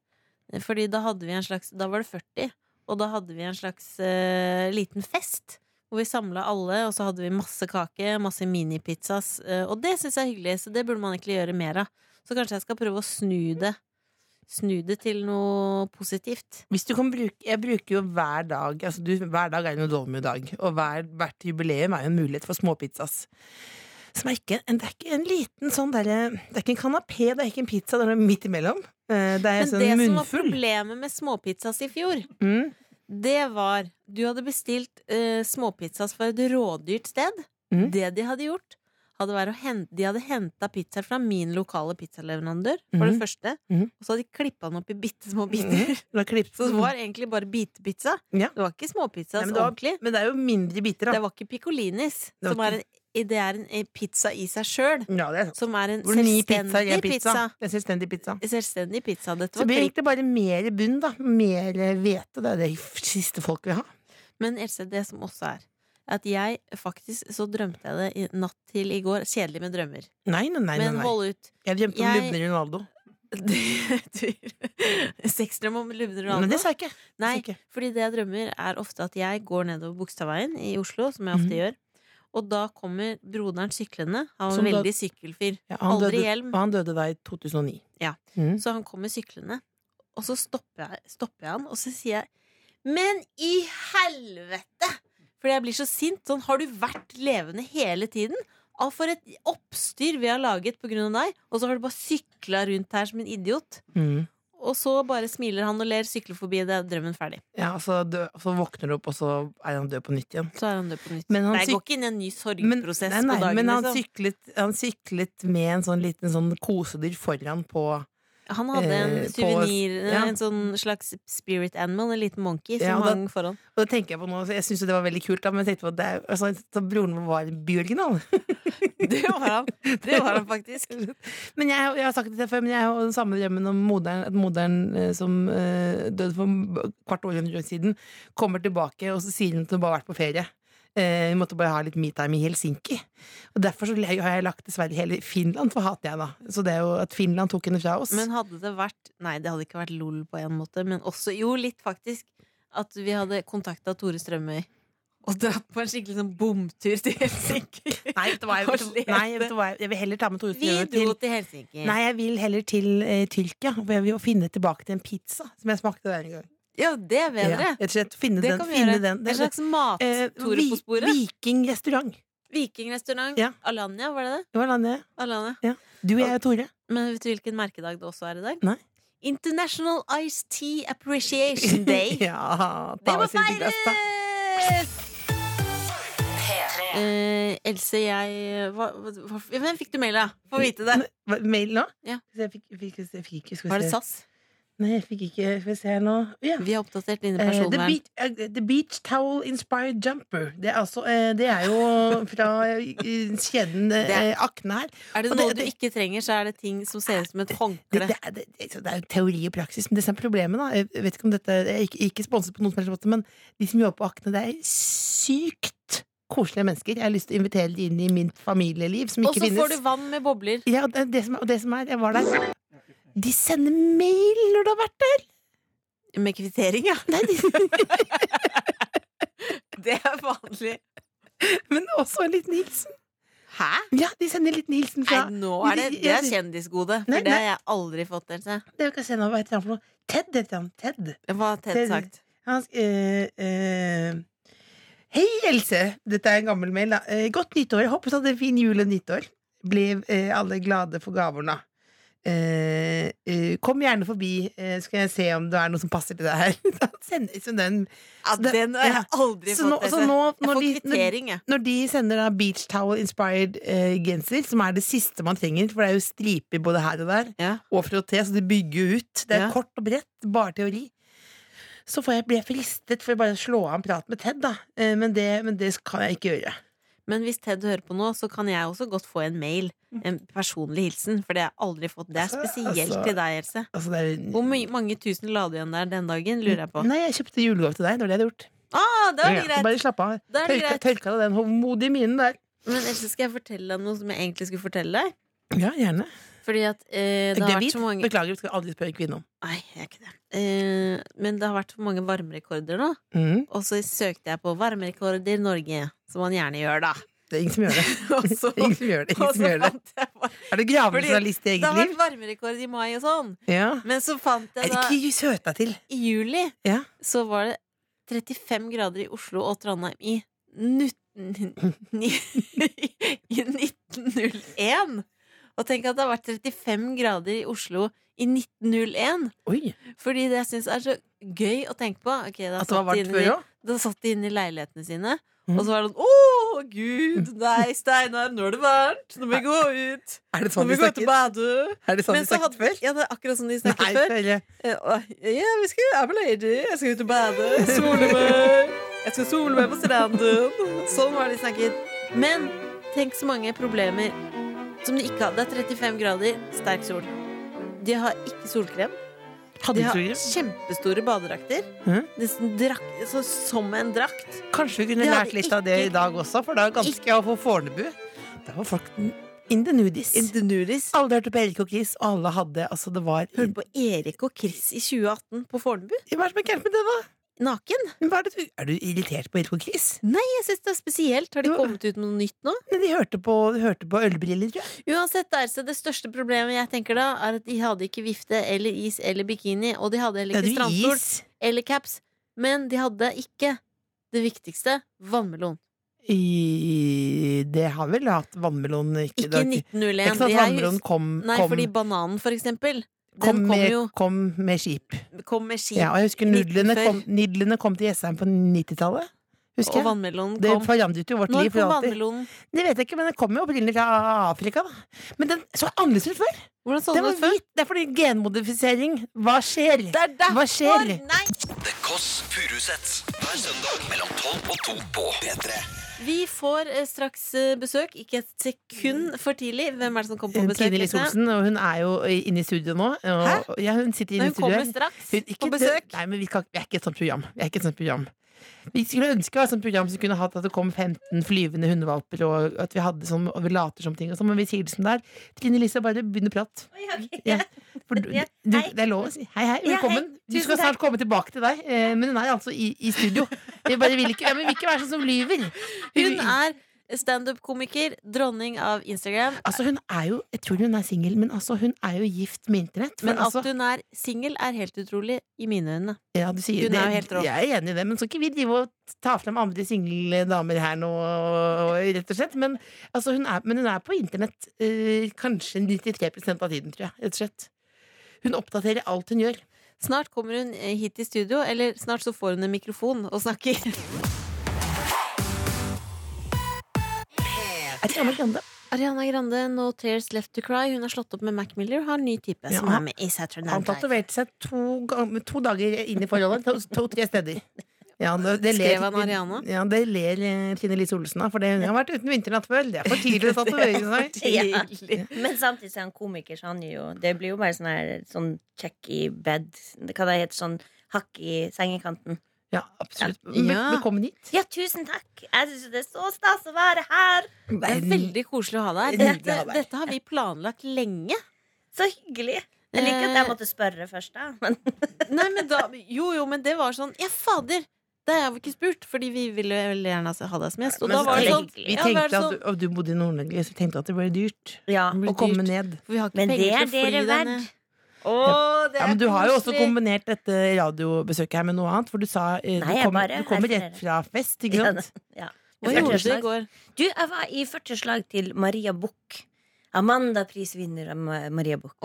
Speaker 3: Fordi da hadde vi en slags Da var det 40, og da hadde vi en slags eh, liten fest. Hvor vi samla alle, og så hadde vi masse kake, masse minipizzas. eh, og det syns jeg er hyggelig, så det burde man egentlig gjøre mer av. Så kanskje jeg skal prøve å snu det. Snu det til noe positivt.
Speaker 4: Hvis du kan bruke, jeg bruker jo hver dag altså du, Hver dag er jo en dolmuedag, og hver, hvert jubileum er jo en mulighet for småpizzas. Som er ikke en, det er ikke en liten sånn derre Det er ikke en kanapé, det er ikke en pizza, det er noe midt imellom. Eh, Det er
Speaker 3: Men det
Speaker 4: en sånn
Speaker 3: som var
Speaker 4: munnfull.
Speaker 3: problemet med småpizzas i fjor,
Speaker 4: Mm.
Speaker 3: det var Du hadde bestilt eh, småpizzas fra et rådyrt sted.
Speaker 4: Mm.
Speaker 3: Det de hadde gjort, hadde vært å hente, de hadde henta pizzaer fra min lokale pizzaleverandør, for
Speaker 4: Mhm.
Speaker 3: det første.
Speaker 4: Mhm.
Speaker 3: Og så hadde de klippa den opp i bitte små biter.
Speaker 4: Du har klippet
Speaker 3: Så det var egentlig bare bitepizza.
Speaker 4: Mm. Ja.
Speaker 3: Det var ikke småpizza
Speaker 4: Nei, men
Speaker 3: så
Speaker 4: det var-
Speaker 3: ordentlig.
Speaker 4: Men det er jo mindre biter,
Speaker 3: Det
Speaker 4: da.
Speaker 3: var ikke piccolinis,
Speaker 4: Det var
Speaker 3: som er en, det er en eh, pizza i seg sjøl.
Speaker 4: Ja, det er sant.
Speaker 3: Som er en
Speaker 4: Hvor ni pizzaer
Speaker 3: selvstendig
Speaker 4: er pizza?
Speaker 3: pizza.
Speaker 4: En selvstendig pizza.
Speaker 3: Selvstendig pizza. Dette var
Speaker 4: Så det blir
Speaker 3: klipp.
Speaker 4: egentlig bare mer bunn, da. Mer hvete. Det er det siste folk vil ha.
Speaker 3: Men Else, det som også er at jeg faktisk så drømte jeg det i natt til i går. Kjedelig med drømmer.
Speaker 4: Nei, nei, nei. nei,
Speaker 3: Men
Speaker 4: nei.
Speaker 3: hold ut.
Speaker 4: Jeg drømte om
Speaker 3: Jeg-
Speaker 4: lubne Ronaldo.
Speaker 3: Sexdrøm om lubne
Speaker 4: Men det
Speaker 3: Ronaldo?
Speaker 4: sa jeg ikke. Det sa
Speaker 3: Nei,
Speaker 4: jeg ikke.
Speaker 3: fordi det jeg drømmer, er ofte at jeg går nedover Bogstadveien i Oslo, som jeg ofte
Speaker 4: Mhm.
Speaker 3: gjør. Og da kommer broderen syklende. Han var
Speaker 4: Som
Speaker 3: en
Speaker 4: da-
Speaker 3: veldig sykkelfyr.
Speaker 4: Ja, han,
Speaker 3: Aldri
Speaker 4: døde,
Speaker 3: hjelm.
Speaker 4: han døde da i 2009.
Speaker 3: Ja.
Speaker 4: Mm.
Speaker 3: Så han kommer syklende, og så stopper jeg, stopper jeg han, og så sier jeg Men i helvete! Fordi jeg blir så sint. Sånn, har du vært levende hele tiden? Av for et oppstyr vi har laget på grunn av deg, og så har du bare sykla rundt her som en idiot.
Speaker 4: Mm.
Speaker 3: Og så bare smiler han og ler, sykler forbi, det er drømmen ferdig.
Speaker 4: Ja, og så, dø, og så våkner du opp, og så er han død på nytt igjen.
Speaker 3: Så er han død på nytt.
Speaker 4: Men han
Speaker 3: Nei, jeg
Speaker 4: syk-
Speaker 3: går ikke inn i en ny
Speaker 4: Men,
Speaker 3: sorgprosess
Speaker 4: nei, nei,
Speaker 3: på dagen.
Speaker 4: men han,
Speaker 3: liksom.
Speaker 4: syklet, han syklet med en sånn liten sånn kosedyr foran på
Speaker 3: han hadde en
Speaker 4: eh, på-
Speaker 3: suvenir,
Speaker 4: ja.
Speaker 3: en sånn slags spirit animal, en liten monkey, som
Speaker 4: Ja, og da-
Speaker 3: hang foran.
Speaker 4: Og det tenker jeg på nå, så jeg syns jo det var veldig kult, da, men jeg tenkte på at det er, altså, så broren vår var bioriginal.
Speaker 3: Det var han. Det var han faktisk.
Speaker 4: Men jeg, jeg har sagt det til deg før, men jeg har jo den samme drømmen om moderen, at moderen eh, som eh, døde for m- kvart århundre siden, kommer tilbake, og så sier hun at hun bare har vært på ferie. Eh, Hun måtte bare ha litt me-time i Helsinki. Og Derfor så har jeg lagt dessverre hele Finland for hater jeg, da. Så det er jo at Finland tok henne fra oss.
Speaker 3: Men hadde det vært Nei, det hadde ikke vært lol på en måte, men også Jo, litt faktisk. At vi hadde kontakta Tore Strømøy og dratt på en skikkelig sånn bomtur til Helsinki.
Speaker 4: Nei, vet du hva, jeg,
Speaker 3: Og lete.
Speaker 4: nei, vet du hva, jeg vil heller ta med Tore
Speaker 3: Vi
Speaker 4: Strømøy til
Speaker 3: dro til Helsinki.
Speaker 4: Nei, jeg vil heller til eh, Tyrkia, for jeg vil jo finne tilbake til en pizza som jeg smakte der en gang.
Speaker 3: Ja, det er bedre.
Speaker 4: Ja, rett og slett finne
Speaker 3: Det
Speaker 4: den.
Speaker 3: kan vi
Speaker 4: Finne
Speaker 3: gjøre.
Speaker 4: den. Det
Speaker 3: En
Speaker 4: er
Speaker 3: slags
Speaker 4: eh,
Speaker 3: mat-Tore på
Speaker 4: vi-
Speaker 3: sporet.
Speaker 4: Vikingrestaurant.
Speaker 3: Vikingrestaurant.
Speaker 4: Ja.
Speaker 3: Alanya, var det det?
Speaker 4: Det var landet.
Speaker 3: Alanya.
Speaker 4: Du og jeg og Tore.
Speaker 3: Men vet du hvilken merkedag det også er i dag?
Speaker 4: Nei.
Speaker 3: International Ice Tea Appreciation Day.
Speaker 4: ja,
Speaker 3: Det
Speaker 4: ta
Speaker 3: må
Speaker 4: oss inn til glass, da.
Speaker 3: feires! Eh, Else, jeg hva, hva, hva- Hvem fikk du mail av? Få vite det.
Speaker 4: Hva, Mail nå?
Speaker 3: Ja.
Speaker 4: Så Jeg fikk, fikk, jeg fikk ikke Skal
Speaker 3: Var
Speaker 4: vi
Speaker 3: det
Speaker 4: se.
Speaker 3: SAS?
Speaker 4: Nei, jeg fikk ikke Skal vi se her nå. Ja.
Speaker 3: Vi har oppdatert dine
Speaker 4: Eh, the,
Speaker 3: personvern.
Speaker 4: beach, eh, the Beach Towel Inspired Jumper. Det er, altså, eh, det er jo fra eh, kjeden eh,
Speaker 3: Det
Speaker 4: Akne her.
Speaker 3: Er det
Speaker 4: og
Speaker 3: noe
Speaker 4: det-
Speaker 3: du
Speaker 4: det-
Speaker 3: ikke trenger, så er det ting som ser ut som et
Speaker 4: Det, det,
Speaker 3: håndkle.
Speaker 4: er- det, det, så det er jo teori og praksis, men det som er problemet da Jeg vet ikke om dette Jeg er ikke, ikke sponset på noen som helst måte, men de som jobber på Akne, det er sykt koselige mennesker. Jeg har lyst til å invitere de inn i min familieliv, som
Speaker 3: Og
Speaker 4: ikke
Speaker 3: så
Speaker 4: finnes.
Speaker 3: får du vann med bobler.
Speaker 4: Ja, og det, det som, er- og det som er, jeg var der De sender mail når du har vært der!
Speaker 3: Med kvittering, ja.
Speaker 4: Nei, de,
Speaker 3: Det er vanlig.
Speaker 4: men også en liten hilsen.
Speaker 3: Hæ?
Speaker 4: Ja, de sender en liten hilsen fra
Speaker 3: Nei, nå er det, det er kjendisgode. For
Speaker 4: Nei,
Speaker 3: det har jeg aldri fått, Else.
Speaker 4: Det kan jeg se nå, Hva heter han for noe? Ted heter han. Ted.
Speaker 3: Hva har Ted
Speaker 4: Ted-
Speaker 3: sagt?
Speaker 4: Han sk- eh, eh, Hei, Else! Dette er en gammel mail, da. Eh, godt nyttår. Jeg håper du hadde en fin jul og nyttår. Ble eh, alle glade for gavene. Eh, eh, kom gjerne forbi, eh, skal jeg se om det er noe som passer til deg her. Han sender liksom den
Speaker 3: Ja,
Speaker 4: det-
Speaker 3: den har
Speaker 4: ja.
Speaker 3: jeg aldri
Speaker 4: Så nå,
Speaker 3: fått,
Speaker 4: så
Speaker 3: Else.
Speaker 4: nå
Speaker 3: Jeg
Speaker 4: når,
Speaker 3: får
Speaker 4: de, når,
Speaker 3: kvittering, jeg.
Speaker 4: når de sender da beach towel inspired eh, genser, som er det siste man trenger, for det er jo striper både her og der,
Speaker 3: Ja.
Speaker 4: og frotté, så de bygger jo ut. Det er
Speaker 3: Ja.
Speaker 4: kort og bredt, bare teori. Så får jeg, blir jeg fristet for å bare slå av en prat med Ted, da. Eh, men, det, men det kan jeg ikke gjøre.
Speaker 3: Men hvis Ted hører på nå, så kan jeg også godt få en mail. En personlig hilsen, for det har jeg aldri fått. Det er
Speaker 4: Altså,
Speaker 3: spesielt
Speaker 4: altså-
Speaker 3: til deg, Else.
Speaker 4: Altså, det er,
Speaker 3: Hvor my mange tusen la du igjen der den dagen, lurer jeg på.
Speaker 4: Nei, jeg kjøpte julegave til deg. Det var det jeg hadde gjort.
Speaker 3: Ah, da er det
Speaker 4: Ja, ja. Så
Speaker 3: greit!
Speaker 4: Bare slapp av.
Speaker 3: Da er det
Speaker 4: Tørka,
Speaker 3: greit.
Speaker 4: tørka deg den hovmodige minen der.
Speaker 3: Men Else, skal jeg fortelle deg noe som jeg egentlig skulle fortelle deg?
Speaker 4: Ja, gjerne.
Speaker 3: Fordi at eh, det har
Speaker 4: Gravid?
Speaker 3: vært så mange
Speaker 4: Beklager, du skal aldri spørre en kvinne om.
Speaker 3: Nei, jeg er ikke det. Eh, men det har vært så mange varmerekorder nå.
Speaker 4: Mm,
Speaker 3: Og så søkte jeg på varmerekorder Norge, som man gjerne gjør, da.
Speaker 4: det er ingen som gjør det.
Speaker 3: Og så, og
Speaker 4: Ingen som gjør det.
Speaker 3: så
Speaker 4: Ingen som gjør det.
Speaker 3: fant jeg bare
Speaker 4: Er du
Speaker 3: Fordi
Speaker 4: gravende journalist i
Speaker 3: Det har
Speaker 4: eget liv?
Speaker 3: vært varmerekord i mai og sånn.
Speaker 4: Ja.
Speaker 3: Men så fant jeg da
Speaker 4: Ikke søt deg til.
Speaker 3: I juli
Speaker 4: Ja.
Speaker 3: så var det 35 grader i Oslo og Trondheim i nut- ni- i 19 1901. Og tenk at det har vært 35 grader i Oslo i 1901.
Speaker 4: Oi,
Speaker 3: Fordi det jeg syns er så gøy å tenke på Ok, da
Speaker 4: At
Speaker 3: satt
Speaker 4: det var
Speaker 3: de
Speaker 4: varmt
Speaker 3: inne
Speaker 4: før
Speaker 3: i-
Speaker 4: òg?
Speaker 3: Da satt de inne i leilighetene sine,
Speaker 4: Mhm. Mm.
Speaker 3: og så var det sånn Å, gud! Nei, Steinar, nå er det varmt! Nå må vi gå ut!
Speaker 4: Er det
Speaker 3: Nå
Speaker 4: sånn
Speaker 3: må vi
Speaker 4: de
Speaker 3: gå ut og
Speaker 4: snakket?
Speaker 3: bade!
Speaker 4: Er det sånn
Speaker 3: Men
Speaker 4: de
Speaker 3: så
Speaker 4: snakket
Speaker 3: hadde-
Speaker 4: før?
Speaker 3: Ja, det er akkurat sånn de
Speaker 4: Nei,
Speaker 3: snakket før.
Speaker 4: følge.
Speaker 3: Eh, og, Ja, vi skal, jeg er på lady. Jeg skal ut og bade. Sole meg. Jeg skal sole meg på stranden. Sånn var det de snakket. Men tenk så mange problemer som de ikke hadde. Det er 35 grader, sterk sol. De har ikke solkrem.
Speaker 4: Hadde
Speaker 3: De
Speaker 4: ikke
Speaker 3: har
Speaker 4: program.
Speaker 3: kjempestore badedrakter.
Speaker 4: Mhm.
Speaker 3: Nesten drak- så, som en drakt.
Speaker 4: Kanskje vi kunne
Speaker 3: Det
Speaker 4: lært
Speaker 3: hadde
Speaker 4: litt av det
Speaker 3: ikke-
Speaker 4: i dag også, for det er ganske ja, for Fornebu. Der var folk in the nudies.
Speaker 3: Indonudis.
Speaker 4: Alle hørte på Erik og Chris, og alle hadde Altså, det var
Speaker 3: Hørte på Erik og Chris i 2018 på Fornebu.
Speaker 4: Hva er det som er gærent med det, da?
Speaker 3: Naken.
Speaker 4: Hva er, det, du- er du irritert på Erik og Chris?
Speaker 3: Jeg synes det er spesielt. Har de
Speaker 4: Jo.
Speaker 3: kommet ut med noe nytt nå?
Speaker 4: Men de hørte på, de hørte på ølbriller, tror jeg.
Speaker 3: Uansett, der, så det største problemet jeg tenker da, er at de hadde ikke vifte eller is eller bikini, og de hadde heller
Speaker 4: Det
Speaker 3: ikke
Speaker 4: hadde jo
Speaker 3: strandstol
Speaker 4: is.
Speaker 3: eller caps. Men de hadde ikke det viktigste vannmelon.
Speaker 4: I, det har vel hatt vannmelon
Speaker 3: Ikke
Speaker 4: Ikke,
Speaker 3: i
Speaker 4: det
Speaker 3: 1901.
Speaker 4: er ikke sånn
Speaker 3: de
Speaker 4: at
Speaker 3: er
Speaker 4: vannmelon
Speaker 3: jo-
Speaker 4: kom,
Speaker 3: Nei,
Speaker 4: kom,
Speaker 3: fordi bananen, for eksempel,
Speaker 4: kom,
Speaker 3: den kom
Speaker 4: med,
Speaker 3: jo
Speaker 4: kom med skip.
Speaker 3: kom med skip,
Speaker 4: Ja, og jeg husker nudlene
Speaker 3: 1940.
Speaker 4: kom, nudlene kom til Jessheim på 90-tallet. Husker
Speaker 3: og
Speaker 4: jeg.
Speaker 3: vannmelonen
Speaker 4: Det
Speaker 3: kom.
Speaker 4: forandret jo vårt
Speaker 3: Når
Speaker 4: liv. for
Speaker 3: kom
Speaker 4: alltid.
Speaker 3: vannmelonen?
Speaker 4: Det vet jeg ikke, men den kom jo opprinnelig fra Afrika. da Men den så annerledes ut før!
Speaker 3: Hvordan så
Speaker 4: Den
Speaker 3: den
Speaker 4: var
Speaker 3: ut før?
Speaker 4: hvit. Det er fordi genmodifisering. Hva skjer?
Speaker 3: Det er derfor!
Speaker 4: Hva skjer?
Speaker 3: Nei!
Speaker 2: The Kåss Furuseths. Hver søndag mellom 12 og 2 på P3.
Speaker 3: Vi får eh, straks eh, besøk, ikke et sekund for tidlig. Hvem er det som kommer på besøk?
Speaker 4: Tine
Speaker 3: Lise?
Speaker 4: Lisomsen, og hun er jo inne i studio nå. Og, ja, hun sitter
Speaker 3: Nei,
Speaker 4: inne
Speaker 3: Hun
Speaker 4: i
Speaker 3: kommer
Speaker 4: studio. her.
Speaker 3: straks
Speaker 4: Hun- ikke
Speaker 3: på
Speaker 4: det-
Speaker 3: besøk.
Speaker 4: Nei, men vi, kan, vi er ikke et sånt program. Vi er ikke et sånt program. Vi skulle ønske å ha et sånt program som kunne hatt at det kom 15 flyvende hundevalper, og at vi hadde sånn, og vi later som ting og sånn, men vi sier det som det er. Trine Lise, bare begynn å prate. Ja, for du,
Speaker 3: Ja,
Speaker 4: du,
Speaker 3: hei.
Speaker 4: det er lov å si hei, hei,
Speaker 3: Ja,
Speaker 4: velkommen.
Speaker 3: hei.
Speaker 4: Du skal
Speaker 3: Tusen takk.
Speaker 4: snart komme tilbake til deg, eh, men hun er altså i, i studio. Vi bare vil ikke, ja, men vi vil ikke være sånn som lyver. Vi-
Speaker 3: Hun er standup-komiker, dronning av Instagram.
Speaker 4: Altså, hun er jo, jeg tror hun er singel, men altså, hun er jo gift med internett. for
Speaker 3: Men
Speaker 4: altså,
Speaker 3: at hun er singel, er helt utrolig i mine øyne.
Speaker 4: Ja, du sier
Speaker 3: Hun
Speaker 4: det.
Speaker 3: er jo helt rå.
Speaker 4: Jeg er enig i det, men så ikke vi drive og ta frem andre single damer her nå, rett og slett. Men, altså, hun, er, men hun er på internett eh, kanskje 93 av tiden, tror jeg. Rett og slett. Hun oppdaterer alt hun gjør.
Speaker 3: Snart kommer hun eh, hit i studio, eller snart så får hun en mikrofon og snakker.
Speaker 4: Er det Anne Grande?
Speaker 3: Ariana Grande, No Tears Left To Cry. Hun har slått opp med Mac Miller, har en ny type som
Speaker 4: Ja.
Speaker 3: er med i Saturday
Speaker 4: Han
Speaker 3: Night Live.
Speaker 4: tatoverte seg to, gang- to dager inn i forholdet. To-tre steder. Ja, det, det
Speaker 3: Skrev han Ariana?
Speaker 4: Ja, det ler eh, Trine Lise Olsen av, for det, hun har vært uten vinternatt før. Det er for tidlig å tatovere seg.
Speaker 1: Ja.
Speaker 3: Tidlig.
Speaker 1: Men samtidig så er han komiker, så han gjør jo Det blir jo bare sånn her sånn check i bed Hva det heter sånn hakk i sengekanten.
Speaker 4: Ja, absolutt.
Speaker 3: Ja.
Speaker 4: Vel- Velkommen hit.
Speaker 1: Ja, tusen takk! Jeg syns det er så stas å være her!
Speaker 3: Det er veldig koselig å ha deg her.
Speaker 4: Nydelig
Speaker 3: Dette,
Speaker 4: å ha deg.
Speaker 3: dette har vi planlagt lenge. Eh,
Speaker 1: Så hyggelig. Jeg liker at jeg måtte spørre først, da. Men
Speaker 3: Nei, men da, jo, jo, men det var sånn Ja, fader! Det har vi ikke spurt, fordi vi ville vel gjerne ha deg som gjest. Og
Speaker 4: Men
Speaker 3: da
Speaker 4: så
Speaker 3: var det
Speaker 1: er
Speaker 3: sånn
Speaker 1: det hyggelig.
Speaker 4: Vi
Speaker 3: ja,
Speaker 4: tenkte
Speaker 3: var det
Speaker 4: at
Speaker 3: sånn-
Speaker 4: du, og du bodde i Nord-Norge, så vi tenkte at det ble dyrt
Speaker 1: ja.
Speaker 4: å
Speaker 3: dyrt.
Speaker 4: komme ned.
Speaker 3: For vi har ikke
Speaker 1: Men det
Speaker 3: penger til
Speaker 1: er
Speaker 3: å
Speaker 1: dere
Speaker 3: fly deg ned.
Speaker 1: verdt.
Speaker 4: Ja, men du har jo også kombinert dette radiobesøket her med noe annet, for du sa eh,
Speaker 1: Nei,
Speaker 4: du,
Speaker 1: jeg
Speaker 4: kom,
Speaker 1: bare-
Speaker 4: du kommer
Speaker 1: jeg
Speaker 4: rett fra fest, ikke
Speaker 1: Ja,
Speaker 4: sant?
Speaker 1: ja.
Speaker 3: Hva
Speaker 1: Jeg
Speaker 3: gjorde
Speaker 1: følte
Speaker 3: du i
Speaker 1: slag.
Speaker 3: går?
Speaker 1: Du, jeg var i 40 slag til Maria Buch. Amanda-prisvinner av Ma- Maria Buch.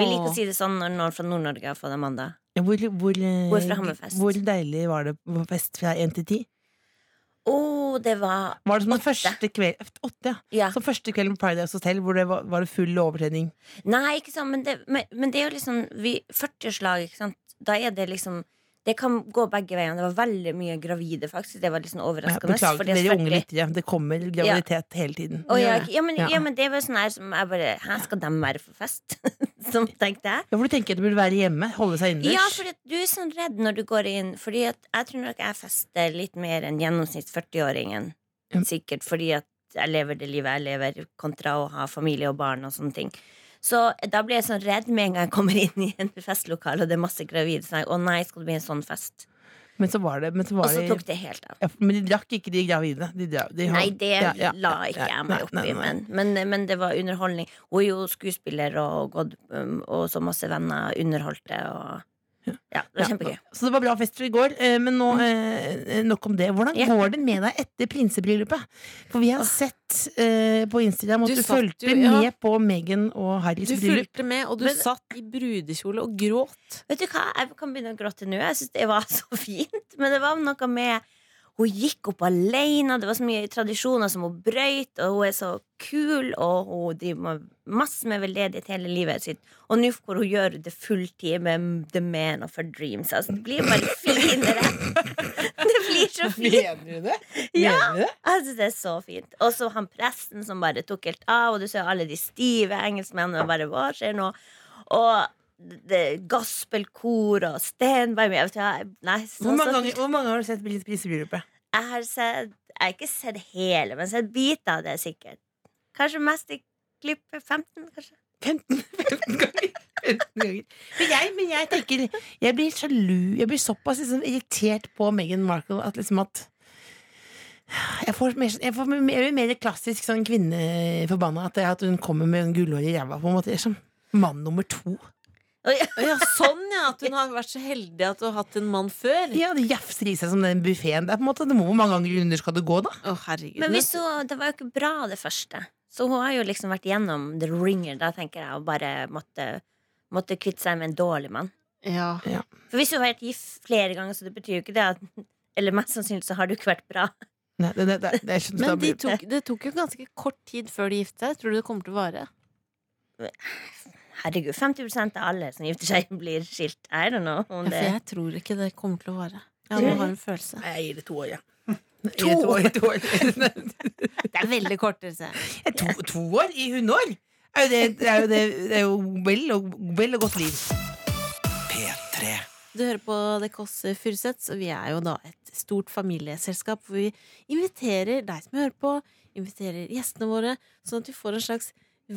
Speaker 1: Vi liker å si det sånn når noen fra Nord-Norge har fått Amanda.
Speaker 4: Hvor, hvor, eh,
Speaker 1: Hvor fra Hammerfest?
Speaker 4: hvor deilig var det på fest fra 1 til 10?
Speaker 1: Å, det var
Speaker 4: Var det som den
Speaker 1: Åtte.
Speaker 4: første kvelden Åtte, ja.
Speaker 1: Ja.
Speaker 4: Som første kvelden på Paradise Hotel, hvor det var, var det full overtrening.
Speaker 1: Nei, ikke sant, men det, men, men det er jo liksom vi, 40-slag, ikke sant Da er det liksom Det kan gå begge veiene. Det var veldig mye gravide, faktisk. Det var litt sånn
Speaker 4: Ja,
Speaker 1: overraskende.
Speaker 4: Beklager
Speaker 1: fordi
Speaker 4: til dere
Speaker 1: jeg
Speaker 4: unge
Speaker 1: 40
Speaker 4: lyttere, det kommer graviditet hele tiden.
Speaker 1: Å,
Speaker 4: ja.
Speaker 1: ja, ok. ja, men,
Speaker 4: Ja.
Speaker 1: ja, men det var sånn her som jeg bare Hæ, skal dem være for fest? som tenkte jeg.
Speaker 4: for du tenker at du burde være hjemme, holde seg innendørs.
Speaker 1: Ja, for du er sånn redd når du går inn. Fordi at jeg tror nok jeg fester litt mer enn gjennomsnitt 40-åringen.
Speaker 4: Ja.
Speaker 1: Sikkert fordi at jeg lever det livet jeg lever, kontra å ha familie og barn og sånne ting. Så da blir jeg sånn redd med en gang jeg kommer inn i en festlokale og det er masse gravide. Så er jeg, å nei, skal det bli en sånn fest?
Speaker 4: Men så var det, men så
Speaker 1: Og
Speaker 4: var
Speaker 1: så
Speaker 4: det
Speaker 1: tok det helt av.
Speaker 4: Ja, for- men de drakk ikke de gravide. De, dra- de,
Speaker 1: Nei, det
Speaker 4: ja, ja,
Speaker 1: la
Speaker 4: ja,
Speaker 1: ikke
Speaker 4: ja,
Speaker 1: jeg meg
Speaker 4: nei,
Speaker 1: opp i,
Speaker 4: nei, nei.
Speaker 1: men, men, men det var underholdning. Hun er jo skuespiller og, gått, um, og så masse venner underholdte. Og Ja, det var kjempegøy.
Speaker 4: Så det var bra fester i går, eh, men nå
Speaker 3: Mm.
Speaker 4: eh, nok om det. Hvordan
Speaker 1: Ja.
Speaker 4: går det med deg etter prinsebryllupet? For vi har sett eh, på Instagram
Speaker 3: Ah. Du
Speaker 4: at du,
Speaker 3: satt
Speaker 4: fulgte
Speaker 3: jo- ja.
Speaker 4: med på Meghan og Harrys
Speaker 3: Du
Speaker 4: bryllup.
Speaker 3: fulgte med, og du
Speaker 4: Men-
Speaker 3: satt i brudekjole og gråt.
Speaker 1: Vet du hva, jeg kan begynne å gråte nå. Jeg syns det var så fint. Men det var noe med Hun gikk opp alene, det var så mye tradisjoner som hun brøyt, og hun er så kul, og hun driver med masse med veldedighet hele livet sitt. Og nå hvor hun gjør det fulltid med The Man of Her Dreams. Altså, det blir bare finere. Det blir så fint.
Speaker 4: Mener du det?
Speaker 1: Ja.
Speaker 4: Mener du det?
Speaker 1: Jeg synes Altså, det er så fint. Og så han presten som bare tok helt av, og du ser alle de stive engelskmennene og bare Hva skjer nå? Og det gospelkor og Stenberg Jeg vet ikke, jeg- nei, så,
Speaker 4: Hvor, mange
Speaker 1: så
Speaker 4: ganger, hvor mange ganger har du sett Pris- prinsebryllupet?
Speaker 1: Jeg har sett Jeg har ikke sett hele, men sett biter av det, sikkert. Kanskje mest i klippet 15, kanskje.
Speaker 4: 15, 15 ganger. 15 ganger. Men jeg, men jeg tenker Jeg blir sjalu. Jeg blir såpass liksom, irritert på Meghan Markle at liksom at jeg får, mer, sånn, jeg får mer, jeg blir mer klassisk sånn kvinneforbanna. At, det er at hun kommer med en gullhår i ræva. på en måte. Jeg er som mann nummer to.
Speaker 1: Og ja,
Speaker 3: Å Ja, sånn, ja! At hun har vært så heldig at hun har hatt en mann før. Å,
Speaker 4: Ja, Det jafser i seg som den buffeen. Det er på en måte, det må hvor mange ganger under skal det gå, da?
Speaker 3: herregud.
Speaker 1: Men hvis hun, det var jo ikke bra, det første. Så hun har jo liksom vært gjennom the ringer, da, tenker jeg, og bare måtte, måtte kvitte seg med en dårlig mann.
Speaker 3: ja.
Speaker 1: For hvis du har vært gift flere ganger, så det betyr jo ikke det at Eller mest sannsynlig så har du ikke vært bra.
Speaker 4: Nei, det, det, det, det, jeg skjønner
Speaker 3: Men
Speaker 4: det
Speaker 3: de
Speaker 4: blir-
Speaker 3: tok, det tok jo ganske kort tid før de gifta seg. Tror du det kommer til å vare?
Speaker 1: Herregud, 50 av alle som gifter seg, blir skilt. I don't know om
Speaker 3: Ja, for
Speaker 1: det
Speaker 3: jeg tror ikke det kommer til å vare. Jeg
Speaker 1: Tror du
Speaker 3: nå har en følelse.
Speaker 4: Nei, Jeg gir det to år, jeg. Jeg gir det To år, to år. Nei,
Speaker 3: Det er veldig kort. Else.
Speaker 4: To, to år i hundår? Er jo det, det er jo, det, det er jo vel, og, vel og godt liv.
Speaker 2: P3.
Speaker 3: Du hører på Det Kåss Furuseths, og vi er jo da et stort familieselskap hvor vi inviterer deg som hører på, inviterer gjestene våre, sånn at vi får en slags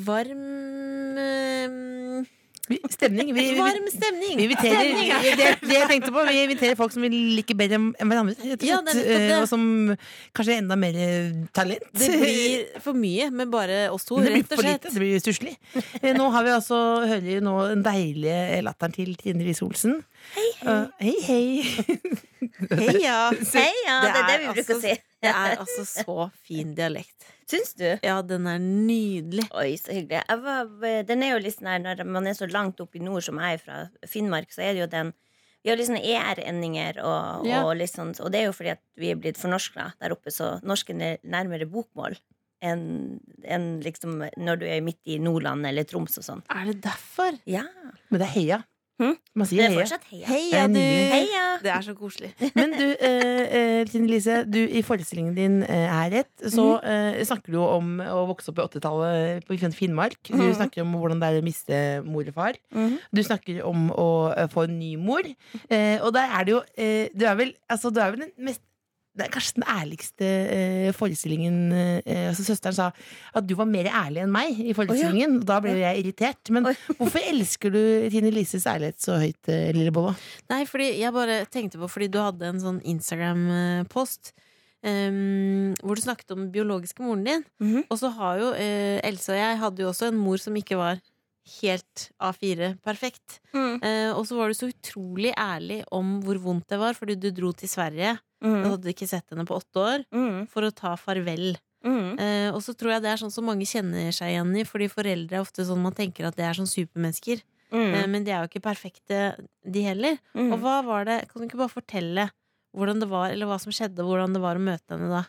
Speaker 3: varm eh,
Speaker 4: Vi- Stemning. Vi, vi,
Speaker 3: Varm
Speaker 4: vi
Speaker 3: stemning!
Speaker 4: inviterer det, det jeg tenkte på, vi inviterer folk som vi liker bedre enn enn hverandre. rett og
Speaker 3: Ja,
Speaker 4: slett.
Speaker 3: det er nettopp det.
Speaker 4: Eh, og som kanskje er enda mer eh, talent.
Speaker 3: Det blir for mye med bare oss to,
Speaker 4: Det blir
Speaker 3: rett og
Speaker 4: for lite,
Speaker 3: slett.
Speaker 4: det blir stusslig. Eh, Nå har vi altså, hører vi nå den deilige latteren til Trine Lise Olsen. Eh, Hei, hei.
Speaker 3: Heia!
Speaker 1: Hei, ja, det er det vi bruker å si.
Speaker 3: Det er altså så fin dialekt.
Speaker 1: Syns du?
Speaker 3: Ja, den er nydelig.
Speaker 1: Oi, så hyggelig. Jeg var, den er jo litt sånn her, Når man er så langt opp i nord som jeg er fra Finnmark, så er det jo den Vi har litt sånne er-endinger, og,
Speaker 3: Ja.
Speaker 1: og, litt sånn- og det er jo fordi at vi er blitt fornorska der oppe, så norsken er nærmere bokmål enn enn liksom når du er midt i Nordland eller Troms og sånn.
Speaker 3: Er det derfor?
Speaker 1: Ja.
Speaker 4: Men det er heia.
Speaker 1: Hm?
Speaker 4: Man
Speaker 1: Det
Speaker 4: sier
Speaker 1: er
Speaker 4: heia.
Speaker 1: fortsatt heia.
Speaker 3: Heia, du!
Speaker 1: Heia!
Speaker 3: Det er så koselig.
Speaker 4: Men du, eh, eh, Trine Lise, du, i forestillingen din eh, er rett, så eh, snakker du jo om å vokse opp i 80-tallet på Finnmark. Du
Speaker 1: Mhm.
Speaker 4: snakker om hvordan det er å miste mor og far.
Speaker 3: Mm-hmm.
Speaker 1: Mhm.
Speaker 4: Du snakker om å eh, få en ny mor. Eh, og der er det jo eh, Du er vel, altså, du er vel den mest det er kanskje den ærligste eh, forestillingen eh, altså Søsteren sa at du var mer ærlig enn meg. i forestillingen og Da ble jeg irritert. Men
Speaker 1: Oi.
Speaker 4: hvorfor elsker du Trine Lises ærlighet så høyt, eh, Lille Bolla?
Speaker 3: Nei, fordi jeg bare tenkte på Fordi du hadde en sånn Instagram-post em, Hvor du snakket om den biologiske moren din
Speaker 1: Mhm.
Speaker 3: Og så har jo eh, Else og jeg hadde jo også en mor som ikke var Helt A4 perfekt
Speaker 1: Mm.
Speaker 3: Eh, Og så var du så utrolig ærlig Om hvor vondt det var Fordi du dro til Sverige Du
Speaker 1: Mm.
Speaker 3: hadde ikke sett henne på åtte år
Speaker 1: Mm.
Speaker 3: For å ta farvel
Speaker 1: Mm.
Speaker 3: Eh, og så tror jeg det er sånn som mange kjenner seg igjen i, fordi foreldre er ofte sånn man tenker at det er sånn supermennesker. Eh,
Speaker 1: Mm.
Speaker 3: men de er jo ikke perfekte, de heller.
Speaker 1: Mm.
Speaker 3: Og hva var det, kan du ikke bare fortelle hvordan det var, eller hva som skjedde, hvordan det var å møte henne da?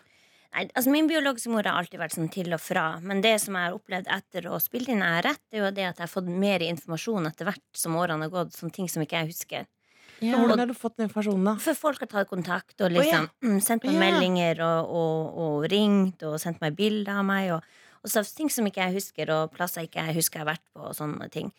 Speaker 1: Nei, altså Min biologiske mor har alltid vært sånn til og fra. Men det som jeg har opplevd etter å spille inn Er rett, det er jo det at jeg har fått mer informasjon etter hvert som årene har gått. Sånne ting som ikke jeg husker.
Speaker 4: Hvordan har du fått den informasjonen, da?
Speaker 1: For folk har tatt kontakt og
Speaker 4: Å, ja.
Speaker 1: liksom mm, sendt
Speaker 3: Å,
Speaker 1: meg
Speaker 3: ja.
Speaker 1: meldinger og, og, og ringt og sendt meg bilder av meg. Og, og så ting som ikke jeg husker, og plasser ikke jeg husker jeg har vært på. Og sånne ting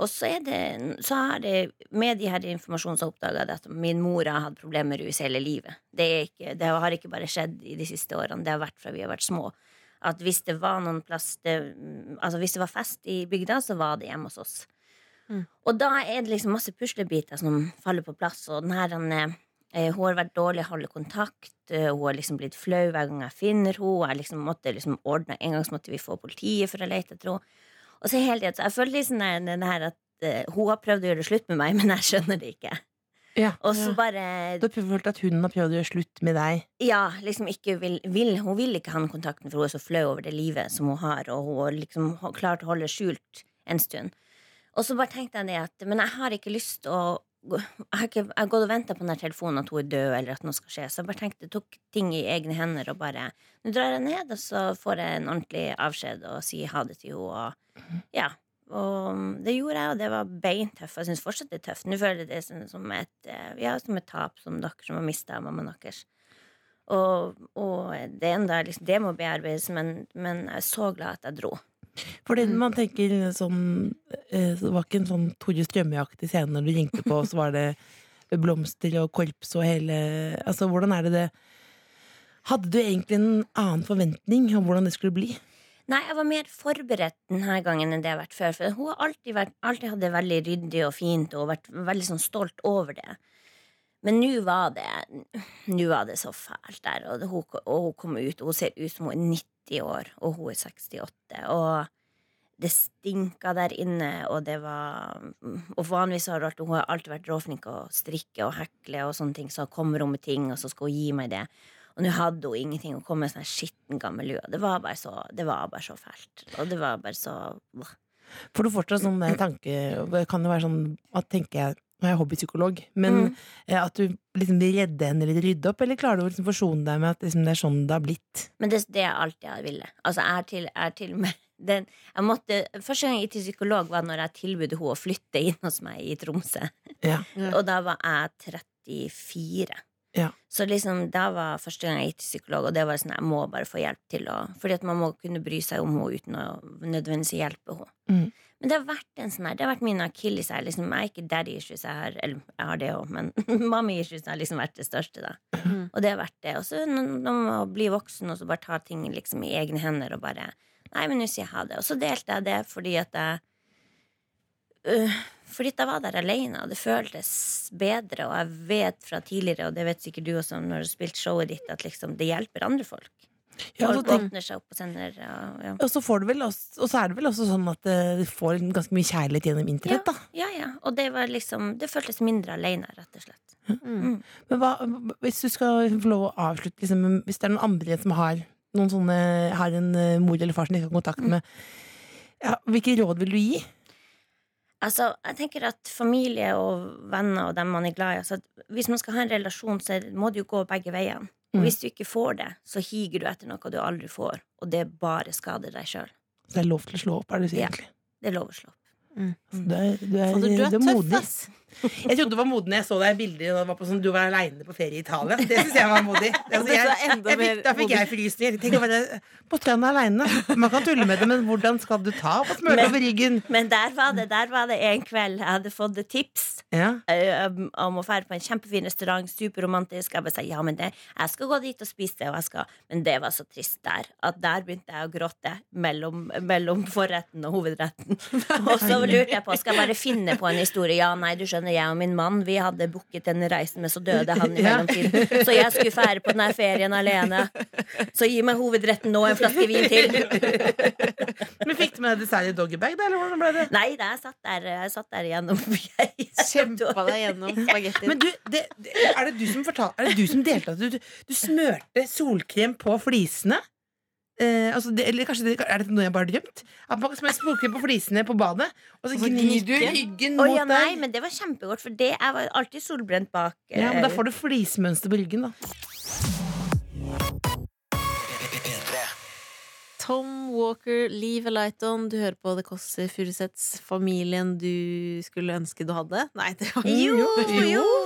Speaker 1: Og så er det, så har det med de her informasjonen så oppdaga jeg at min mor har hatt problemer med rus hele livet. Det, er ikke, det har ikke bare skjedd i de siste årene, det har vært fra vi har vært små. At hvis det var noen plass det, Altså hvis det var fest i bygda, så var det hjemme hos oss. Og da er det liksom masse puslebiter som faller på plass. Og den her, han, eh, hun har vært dårlig å holde kontakt. eh, Hun har liksom blitt flau hver gang jeg finner henne. Jeg liksom måtte liksom ordne En gang så måtte vi få politiet for å lete etter henne. Og så hele tiden, så jeg føler liksom den, den her at eh, hun har prøvd å gjøre det slutt med meg, men jeg skjønner det ikke.
Speaker 4: Ja.
Speaker 1: Og så
Speaker 3: Ja.
Speaker 1: bare
Speaker 4: Du har prøvd- følt at hun har prøvd å gjøre slutt med deg.
Speaker 1: Ja, liksom ikke vil, vil Hun vil ikke ha den kontakten, for hun er så flau over det livet som hun har, og hun har liksom ho- klart å holde skjult en stund. Og så bare tenkte jeg det at Men jeg har ikke lyst å gå- Jeg har, ikke, jeg har gått og venta på den her telefonen at hun er død, eller at noe skal skje. Så jeg bare tenkte, jeg tok ting i egne hender og bare Nå drar jeg ned, og så får jeg en ordentlig avskjed og sier ha det til henne, og ja. Og det gjorde jeg, og det var beintøft. Jeg syns fortsatt det er tøft. Nå føler jeg det som, som, et, eh, ja, som et tap, som dere som har mista mammaen deres. Og, og det, er enda, liksom, det må bearbeides, men, men jeg er så glad at jeg dro.
Speaker 4: Fordi man tenker sånn eh, så Det var ikke en sånn Tore Strømme-aktig scene når du ringte på, og så var det blomster og korps og hele Altså, hvordan er det det Hadde du egentlig en annen forventning om hvordan det skulle bli?
Speaker 1: Nei, jeg var mer forberedt denne gangen enn det jeg har vært før. For hun har alltid, vært, alltid hatt det veldig ryddig og fint og vært veldig sånn stolt over det. Men nå var det Nå var det så fælt der, og hun, og hun kom ut, og hun ser ut som hun er 90 år, og hun er 68, og det stinka der inne, og det var Og vanligvis har hun alltid, hun har alltid vært råflink til å strikke og hekle og sånne ting, så kommer hun med ting, og så skal hun gi meg det. Og nå hadde hun ingenting å komme med sånn her skitten gammel lue. Det var bare så, det var bare så fælt. Og det var bare så
Speaker 4: For du fortsatt sånn eh, tanke Det kan jo være sånn at tenker jeg Nå er jeg hobbypsykolog, men
Speaker 1: Mm.
Speaker 4: eh, at du liksom vil redde henne eller rydde opp, eller klarer du å liksom forsone deg med at liksom det er sånn det har blitt?
Speaker 1: Men det er det jeg alltid har ville. Altså, jeg er til, jeg er til og med den, jeg måtte, Første gang jeg gikk til psykolog, var når jeg tilbød henne å flytte inn hos meg i Tromsø.
Speaker 4: Ja.
Speaker 3: Ja.
Speaker 1: Og da var jeg 34.
Speaker 4: Ja.
Speaker 1: Så liksom, da var første gang jeg gikk til psykolog, og det var sånn jeg må bare få hjelp til å Fordi at man må kunne bry seg om henne uten å nødvendigvis hjelpe henne.
Speaker 4: Mm.
Speaker 1: Men det har vært en sånn her, det har vært min akilles her. Liksom, jeg er ikke daddy issues, jeg har, eller jeg har det òg, men mommy issues har liksom vært det største, da.
Speaker 3: Mm.
Speaker 1: Og det har vært det. Og så når når man blir voksen og så bare tar ting liksom i egne hender og bare Nei, men nå sier jeg ha det. Og så delte jeg det fordi at jeg øh, Fordi at jeg var der alene, og det føltes bedre, og jeg vet fra tidligere, og det vet sikkert du også når du har spilt showet ditt, at liksom det hjelper andre folk.
Speaker 4: Ja,
Speaker 1: Folk
Speaker 4: og, så,
Speaker 1: åpner seg opp og sender og, ja.
Speaker 4: og, så får du vel også, og så er det vel også sånn at eh, du får liksom ganske mye kjærlighet gjennom internett, da.
Speaker 1: ja, ja. Og det var liksom Det føltes mindre alene, rett og slett.
Speaker 4: Men hva, hvis du skal få lov å avslutte liksom, Hvis det er noen andre som har Noen sånne, har en eh, mor eller far som de ikke har kontakt
Speaker 3: Mm.
Speaker 4: med ja, Hvilke råd vil du gi?
Speaker 1: Altså, jeg tenker at Familie og venner og dem man er glad i altså at Hvis man skal ha en relasjon, så er det- må det jo gå begge veiene. Og
Speaker 4: Mm.
Speaker 1: hvis du ikke får det, så higer du etter noe du aldri får, og det bare skader deg sjøl.
Speaker 4: Så det er lov til å slå opp, er det du sier
Speaker 1: Ja.
Speaker 4: egentlig
Speaker 1: Det er lov å slå opp.
Speaker 4: altså, du, er, du, er,
Speaker 3: Fader, du Eh, er tøff,
Speaker 4: modig
Speaker 3: ass!
Speaker 4: Jeg trodde du var modig når jeg så deg i bilder da du var på sånn, Du var aleine på ferie i Italia Det synes jeg var modig
Speaker 3: Ja,
Speaker 4: Altså,
Speaker 3: dette
Speaker 4: jeg,
Speaker 3: er enda
Speaker 4: jeg fikk,
Speaker 3: mer
Speaker 4: Da fikk jeg frysninger Tenk å være på stranda aleine. Man kan tulle med det, men hvordan skal du ta og smøre
Speaker 1: Men-
Speaker 4: over ryggen?
Speaker 1: Men der var det der var det en kveld jeg hadde fått et tips
Speaker 4: Ja,
Speaker 1: eh, om om å dra på en kjempefin restaurant, superromantisk. Jeg bare sa ja, men det, jeg skal gå dit og spise det, og jeg skal Men det var så trist der at der begynte jeg å gråte mellom, mellom forretten og hovedretten. Og så lurte jeg på skal jeg bare finne på en historie. Ja, nei, du skjønner, jeg og min mann Vi hadde booket den reisen, men så døde han i
Speaker 4: Ja.
Speaker 1: mellomtiden. Så jeg skulle fære på denne ferien alene. Så gi meg hovedretten nå, en flaske vin til.
Speaker 4: men fikk du med deg dessert i doggebag da, eller hvordan ble det?
Speaker 1: Nei da, jeg satt der, jeg satt der igjennom. Jeg-
Speaker 3: Kjempa deg gjennom spagettien.
Speaker 4: Men du, det, det, er det du som fortal, Er det du som delte at du, du smørte solkrem på flisene? Eh, altså det, eller kanskje det, Er det noe jeg bare har drømt? At man kan smøre solkrem på flisene på badet, og så
Speaker 3: så
Speaker 4: gnir du
Speaker 3: gnikke.
Speaker 4: ryggen
Speaker 1: Å
Speaker 4: mot
Speaker 1: ja, nei,
Speaker 4: deg.
Speaker 1: men det var kjempegodt, for det, jeg var alltid solbrent bak.
Speaker 4: Ja, men Da
Speaker 1: eh,
Speaker 4: får du flismønster på ryggen, da.
Speaker 2: P3
Speaker 3: Tom Walker, Leave a Light On. Du hører på The Kåss Furuseths. Familien du skulle ønske du hadde. Nei, det var
Speaker 4: Mm,
Speaker 1: Jo, jo,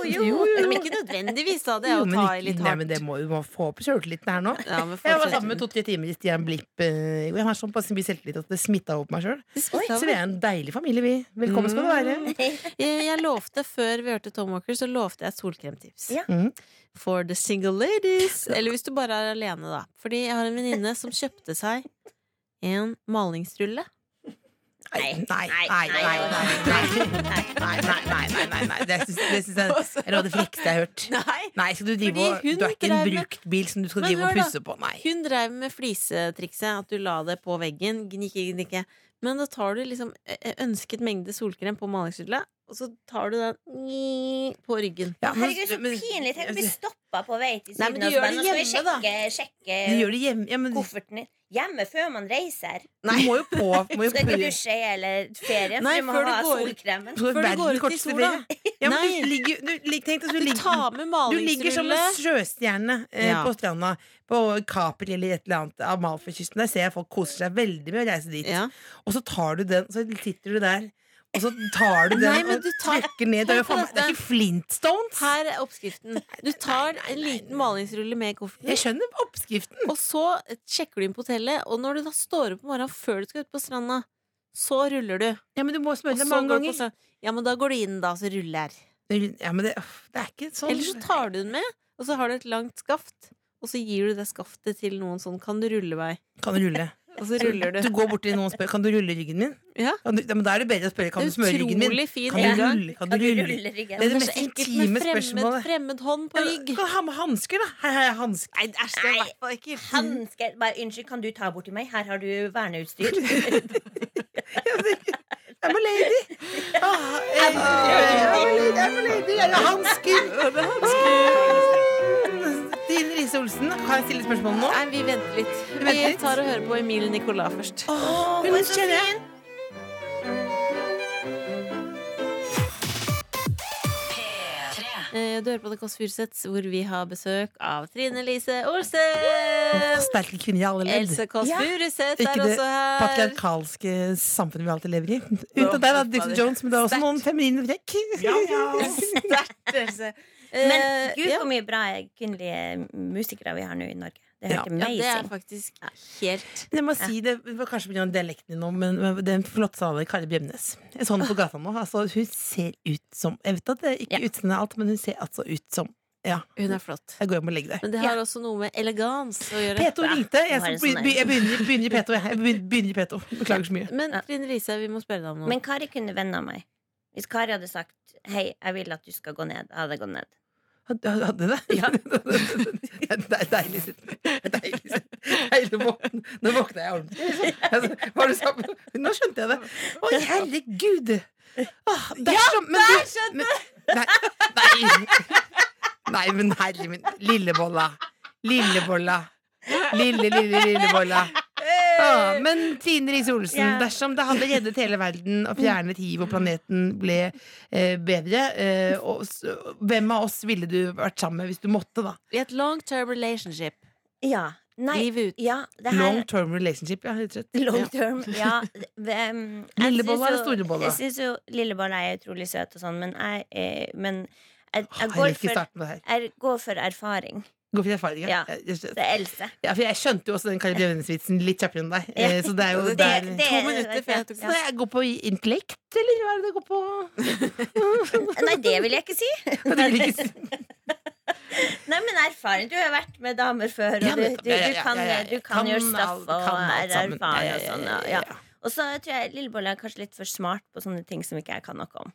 Speaker 1: jo.
Speaker 3: Mm, Men ikke nødvendigvis, da. Det er
Speaker 4: Jo,
Speaker 3: å
Speaker 4: men
Speaker 3: ta
Speaker 4: ikke-
Speaker 3: i litt
Speaker 4: Nei,
Speaker 3: hardt.
Speaker 4: men det må, du må få opp sjøltilliten her nå.
Speaker 3: Ja, men
Speaker 4: Jeg var
Speaker 3: fortsatt-
Speaker 4: sammen med to-tre timer i Stian Blipp. eh, og Jeg har sånn passe mye selvtillit at det smitta over på meg sjøl.
Speaker 3: Det smittet Mm.
Speaker 4: Så vi er en deilig familie, vi. Velkommen skal du være.
Speaker 3: Eh, Jeg jeg lovte Før vi hørte Tom Walker, så lovte jeg et solkremtips.
Speaker 1: Ja.
Speaker 4: Mhm.
Speaker 3: For the single ladies. Eller hvis du bare er alene, da. Fordi jeg har en venninne som kjøpte seg en malingsrulle.
Speaker 1: Nei,
Speaker 4: nei,
Speaker 1: nei,
Speaker 4: nei, nei,
Speaker 1: nei,
Speaker 4: nei, nei, nei, nei, nei, nei, nei. Det syns det syns jeg er noe av det frekeste jeg har hørt.
Speaker 3: Nei!
Speaker 4: Nei, skal du drive
Speaker 3: Fordi
Speaker 4: og
Speaker 3: hun
Speaker 4: Du er ikke en
Speaker 3: drev med-
Speaker 4: brukt bil som du skal
Speaker 3: Men
Speaker 4: drive og
Speaker 3: hør da.
Speaker 4: pusse på, nei.
Speaker 3: Hun drev med flisetrikset, at du la det på veggen. Gnikke, gnikke. Men da tar du liksom eh, ønsket mengde solkrem på malingsskyllet, og så tar du den på ryggen.
Speaker 4: Ja, men-
Speaker 1: Herregud, så
Speaker 4: men-
Speaker 1: pinlig! Tenk å bli stoppa på vei til
Speaker 3: Nei, men
Speaker 1: Syden.
Speaker 3: du
Speaker 1: og så
Speaker 3: gjør
Speaker 1: bare,
Speaker 3: det
Speaker 1: nå skal vi
Speaker 3: hjemme, da.
Speaker 1: sjekke, sjekke
Speaker 4: Du gjør det hjemme. Ja, men, du
Speaker 1: kofferten din. Hjemme før man reiser.
Speaker 4: må jo på må jo
Speaker 1: Skal ikke
Speaker 4: på-
Speaker 1: dusje eller ferie, for
Speaker 3: Nei,
Speaker 1: du må
Speaker 3: før du
Speaker 1: ha
Speaker 3: går-
Speaker 1: solkremen.
Speaker 4: Tror
Speaker 3: Før du
Speaker 4: verden
Speaker 3: går ut i
Speaker 4: korteste
Speaker 3: sola.
Speaker 4: ferie. Ja, men
Speaker 3: Nei.
Speaker 4: du ligger, du, lig- tenk deg at du,
Speaker 3: Du
Speaker 4: ligger-
Speaker 3: tar med
Speaker 4: du ligger som en
Speaker 3: malingsrullet.
Speaker 4: sjøstjerne eh,
Speaker 3: Ja.
Speaker 4: på stranda på Capri eller et eller annet Amalfi-kysten. Der ser jeg folk koser seg veldig med å reise dit.
Speaker 3: Ja.
Speaker 4: Og så tar du den, så sitter du der, og så tar du den
Speaker 3: Nei, men du tar-
Speaker 4: og trekker ned. Det er, jo faen meg- det er ikke Flintstones!
Speaker 3: Her er oppskriften. Du tar en liten malingsrulle med i
Speaker 4: Jeg
Speaker 3: kofferten,
Speaker 4: skjønner oppskriften.
Speaker 3: og så sjekker du inn på hotellet. Og når du da står opp om morgenen før du skal ut på stranda, så ruller du.
Speaker 4: Ja, men du må
Speaker 3: Og
Speaker 4: smøre
Speaker 3: så
Speaker 4: deg mange
Speaker 3: går du på
Speaker 4: ganger.
Speaker 3: stranda. Ja, men da går du inn, da, og så ruller.
Speaker 4: Ja, men det, uff, det er ikke sånn.
Speaker 3: Eller så tar du den med, og så har du et langt skaft. Og så gir du det skaftet til noen sånn Kan du rulle meg?
Speaker 4: Kan du rulle?
Speaker 3: Og så ruller
Speaker 4: Du
Speaker 3: du.
Speaker 4: går bort til noen og spør Kan du rulle ryggen min.
Speaker 3: Ja.
Speaker 4: Kan du, ja, men Da er det bedre å spørre Kan du smøre ryggen min.
Speaker 3: Utrolig fin
Speaker 4: Kan du
Speaker 3: inngang.
Speaker 4: rulle? Kan du rulle?
Speaker 1: ryggen?
Speaker 4: Det er
Speaker 3: så
Speaker 4: det mest
Speaker 3: ekkelt
Speaker 4: intime
Speaker 3: med fremmed,
Speaker 4: spørsmålet.
Speaker 3: fremmed hånd på rygg.
Speaker 4: Ja, Ha med hansker, da. Her har jeg hansker.
Speaker 3: Nei, æsj, det er i hvert fall ekkelt.
Speaker 1: Hansker Bare unnskyld, kan du ta borti meg? Her har du verneutstyr.
Speaker 4: I'm a lady. Ah, eh, I'm a lady. I'm a lady. Jeg har hansker. Ah, Trine Lise Olsen, kan jeg stille spørsmål nå?
Speaker 3: Nei, vi venter litt.
Speaker 4: Vi venter
Speaker 3: Vi
Speaker 4: litt.
Speaker 3: tar og hører på Emil Nicolas først.
Speaker 4: Åh,
Speaker 1: hun er så
Speaker 4: kjenner jeg.
Speaker 3: Eh, Du hører på The Kåss Furuseths, hvor vi har besøk av Trine Lise Olsen.
Speaker 4: Sterke kvinner i alle ledd.
Speaker 3: Else Kåss
Speaker 1: Ja.
Speaker 3: Furuseth
Speaker 4: Ikke
Speaker 3: er
Speaker 4: det
Speaker 3: også her.
Speaker 4: Patriarkalske samfunnet vi alltid lever i. Unntatt deg, da, Dixon Jones, men det er også noen feminine trekk.
Speaker 3: Sterkt, Else. Eh,
Speaker 1: Men gud,
Speaker 3: ja.
Speaker 1: så mye bra kvinnelige musikere vi har nå i Norge. Det er
Speaker 4: Ja.
Speaker 3: ja,
Speaker 1: helt
Speaker 3: det er
Speaker 1: amazing.
Speaker 3: faktisk helt
Speaker 4: Men Jeg må si det, det var kanskje pga. dialekten din nå, men det er en flott sale, Kari Bremnes. Jeg så henne på gata nå. Altså, hun ser ut som Jeg vet at det er ikke
Speaker 1: Ja.
Speaker 4: utseendet er alt, men hun ser altså ut som Ja.
Speaker 3: Hun er flott.
Speaker 4: Jeg går hjem og legger deg.
Speaker 3: Men det har også noe med elegans å gjøre.
Speaker 4: P2 ringte. Jeg,
Speaker 1: Nå
Speaker 4: skal
Speaker 1: er det
Speaker 4: be-
Speaker 1: sånn
Speaker 4: be- jeg begynner, begynner i P2. Jeg Jeg begynner, begynner i P2. Beklager så mye.
Speaker 3: Men
Speaker 1: Ja.
Speaker 3: Trine Lise, vi må spørre deg om noe.
Speaker 1: Men Kari kunne venn av meg. Hvis Kari hadde sagt 'hei, jeg vil at du skal gå ned', jeg hadde gått ned.
Speaker 4: Hadde hadde det? Ja. det er deilig sitt. Deilig sitt. Deilig våkn. Nå våkna jeg ordentlig. liksom. Altså, hva du sa Nå skjønte jeg det. Å, herregud! Åh, dersom, men du- men- Nei, nei. nei, men herre min. Lillebolla. Lillebolla. Lille, lille, lillebolla. Ah, men Trine Lise Olsen,
Speaker 1: Eh, Ja.
Speaker 4: dersom det hadde reddet hele verden og fjernet hiv og planeten ble eh, bedre, eh, og, s- hvem av oss ville du vært sammen med hvis du måtte, da?
Speaker 3: I et long term relationship,
Speaker 1: Ja. Nei.
Speaker 3: liv ut.
Speaker 1: Ja, det her
Speaker 4: Long term relationship, ja, rett og slett.
Speaker 1: Long term, ja. Hvem- jeg
Speaker 4: Lillebolla
Speaker 1: syns
Speaker 4: eller
Speaker 1: jo-
Speaker 4: storebolla?
Speaker 1: Jeg syns jo lillebolla er utrolig søt og sånn, men jeg, eh, men jeg, jeg,
Speaker 4: Jeg
Speaker 1: går
Speaker 4: liker
Speaker 1: for,
Speaker 4: starten på det her.
Speaker 1: jeg går for erfaring.
Speaker 4: Gå for erfaring. Ja.
Speaker 1: Ja.
Speaker 4: Ja, rett og slett.
Speaker 1: Det er Else.
Speaker 4: ja, for jeg skjønte jo også den Kari Brevnes-vitsen litt kjappere enn deg.
Speaker 1: Ja.
Speaker 4: Eh, Så det er jo
Speaker 1: Det-
Speaker 4: der
Speaker 1: det-
Speaker 3: To minutter før jeg tok
Speaker 4: Så jeg går på intellekt, eller hva er det det går på?
Speaker 1: Nei, det vil jeg ikke si.
Speaker 4: Det vil jeg ikke si.
Speaker 1: Nei, men erfaring. Du har vært med damer før, og
Speaker 4: Ja,
Speaker 1: du,
Speaker 4: men-
Speaker 1: du,
Speaker 4: ja, ja,
Speaker 1: du
Speaker 4: ja,
Speaker 1: kan,
Speaker 4: ja, ja.
Speaker 1: du kan gjøre straff
Speaker 4: alt-
Speaker 1: og
Speaker 4: kan alt
Speaker 1: er
Speaker 4: sammen.
Speaker 1: erfaren
Speaker 4: Ja, ja,
Speaker 1: og
Speaker 4: ja,
Speaker 1: sånn.
Speaker 4: ja,
Speaker 1: ja,
Speaker 4: ja.
Speaker 1: Ja. Og så tror jeg lillebolla er kanskje litt for smart på sånne ting som ikke jeg kan noe om.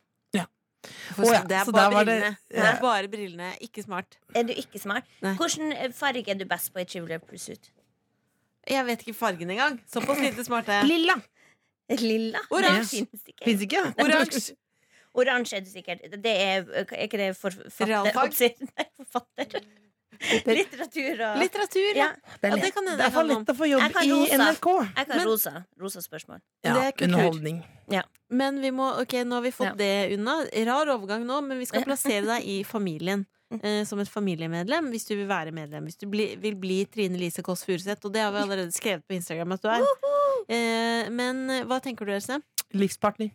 Speaker 3: For
Speaker 4: Å
Speaker 3: Det
Speaker 4: ja, så
Speaker 3: er
Speaker 4: der
Speaker 3: bare
Speaker 4: var det-
Speaker 3: brillene. Det
Speaker 4: ja.
Speaker 3: er bare brillene, ikke smart.
Speaker 1: Er du ikke smart?
Speaker 3: Nei.
Speaker 1: Hvilken farge er du best på i Trivial Pursuit?
Speaker 3: Jeg vet ikke fargen engang. Såpass lite smarte.
Speaker 4: Lilla.
Speaker 1: Lilla?
Speaker 3: Oransje.
Speaker 1: Det finnes ikke.
Speaker 4: Fins ikke? ja.
Speaker 3: Oransje.
Speaker 1: Oransje er du sikkert. Det er, eh, er ikke det forfatter?
Speaker 3: Realfag?
Speaker 1: Nei, forfatter. Litteratur og
Speaker 3: Litteratur, ja.
Speaker 1: Ja.
Speaker 4: Det er,
Speaker 3: Ja,
Speaker 4: lett.
Speaker 3: det kan hende
Speaker 4: det er
Speaker 3: jeg
Speaker 4: for
Speaker 3: kan
Speaker 4: lett å få jobb
Speaker 1: Jeg kan
Speaker 4: i
Speaker 1: rosa.
Speaker 4: NRK.
Speaker 1: Jeg kan
Speaker 3: Men-
Speaker 1: rosa. Rosa spørsmål.
Speaker 3: Det er kultur.
Speaker 4: underholdning.
Speaker 3: Men vi må, ok, nå har vi fått
Speaker 1: Ja.
Speaker 3: det unna. Rar overgang nå, men vi skal plassere deg i familien. Eh, som et familiemedlem, hvis du vil være medlem. Hvis du bli, vil bli Trine Lise Kåss Furuseth. Og det har vi allerede skrevet på Instagram at du er. Eh, men eh, hva tenker du, Else?
Speaker 4: Livspartner.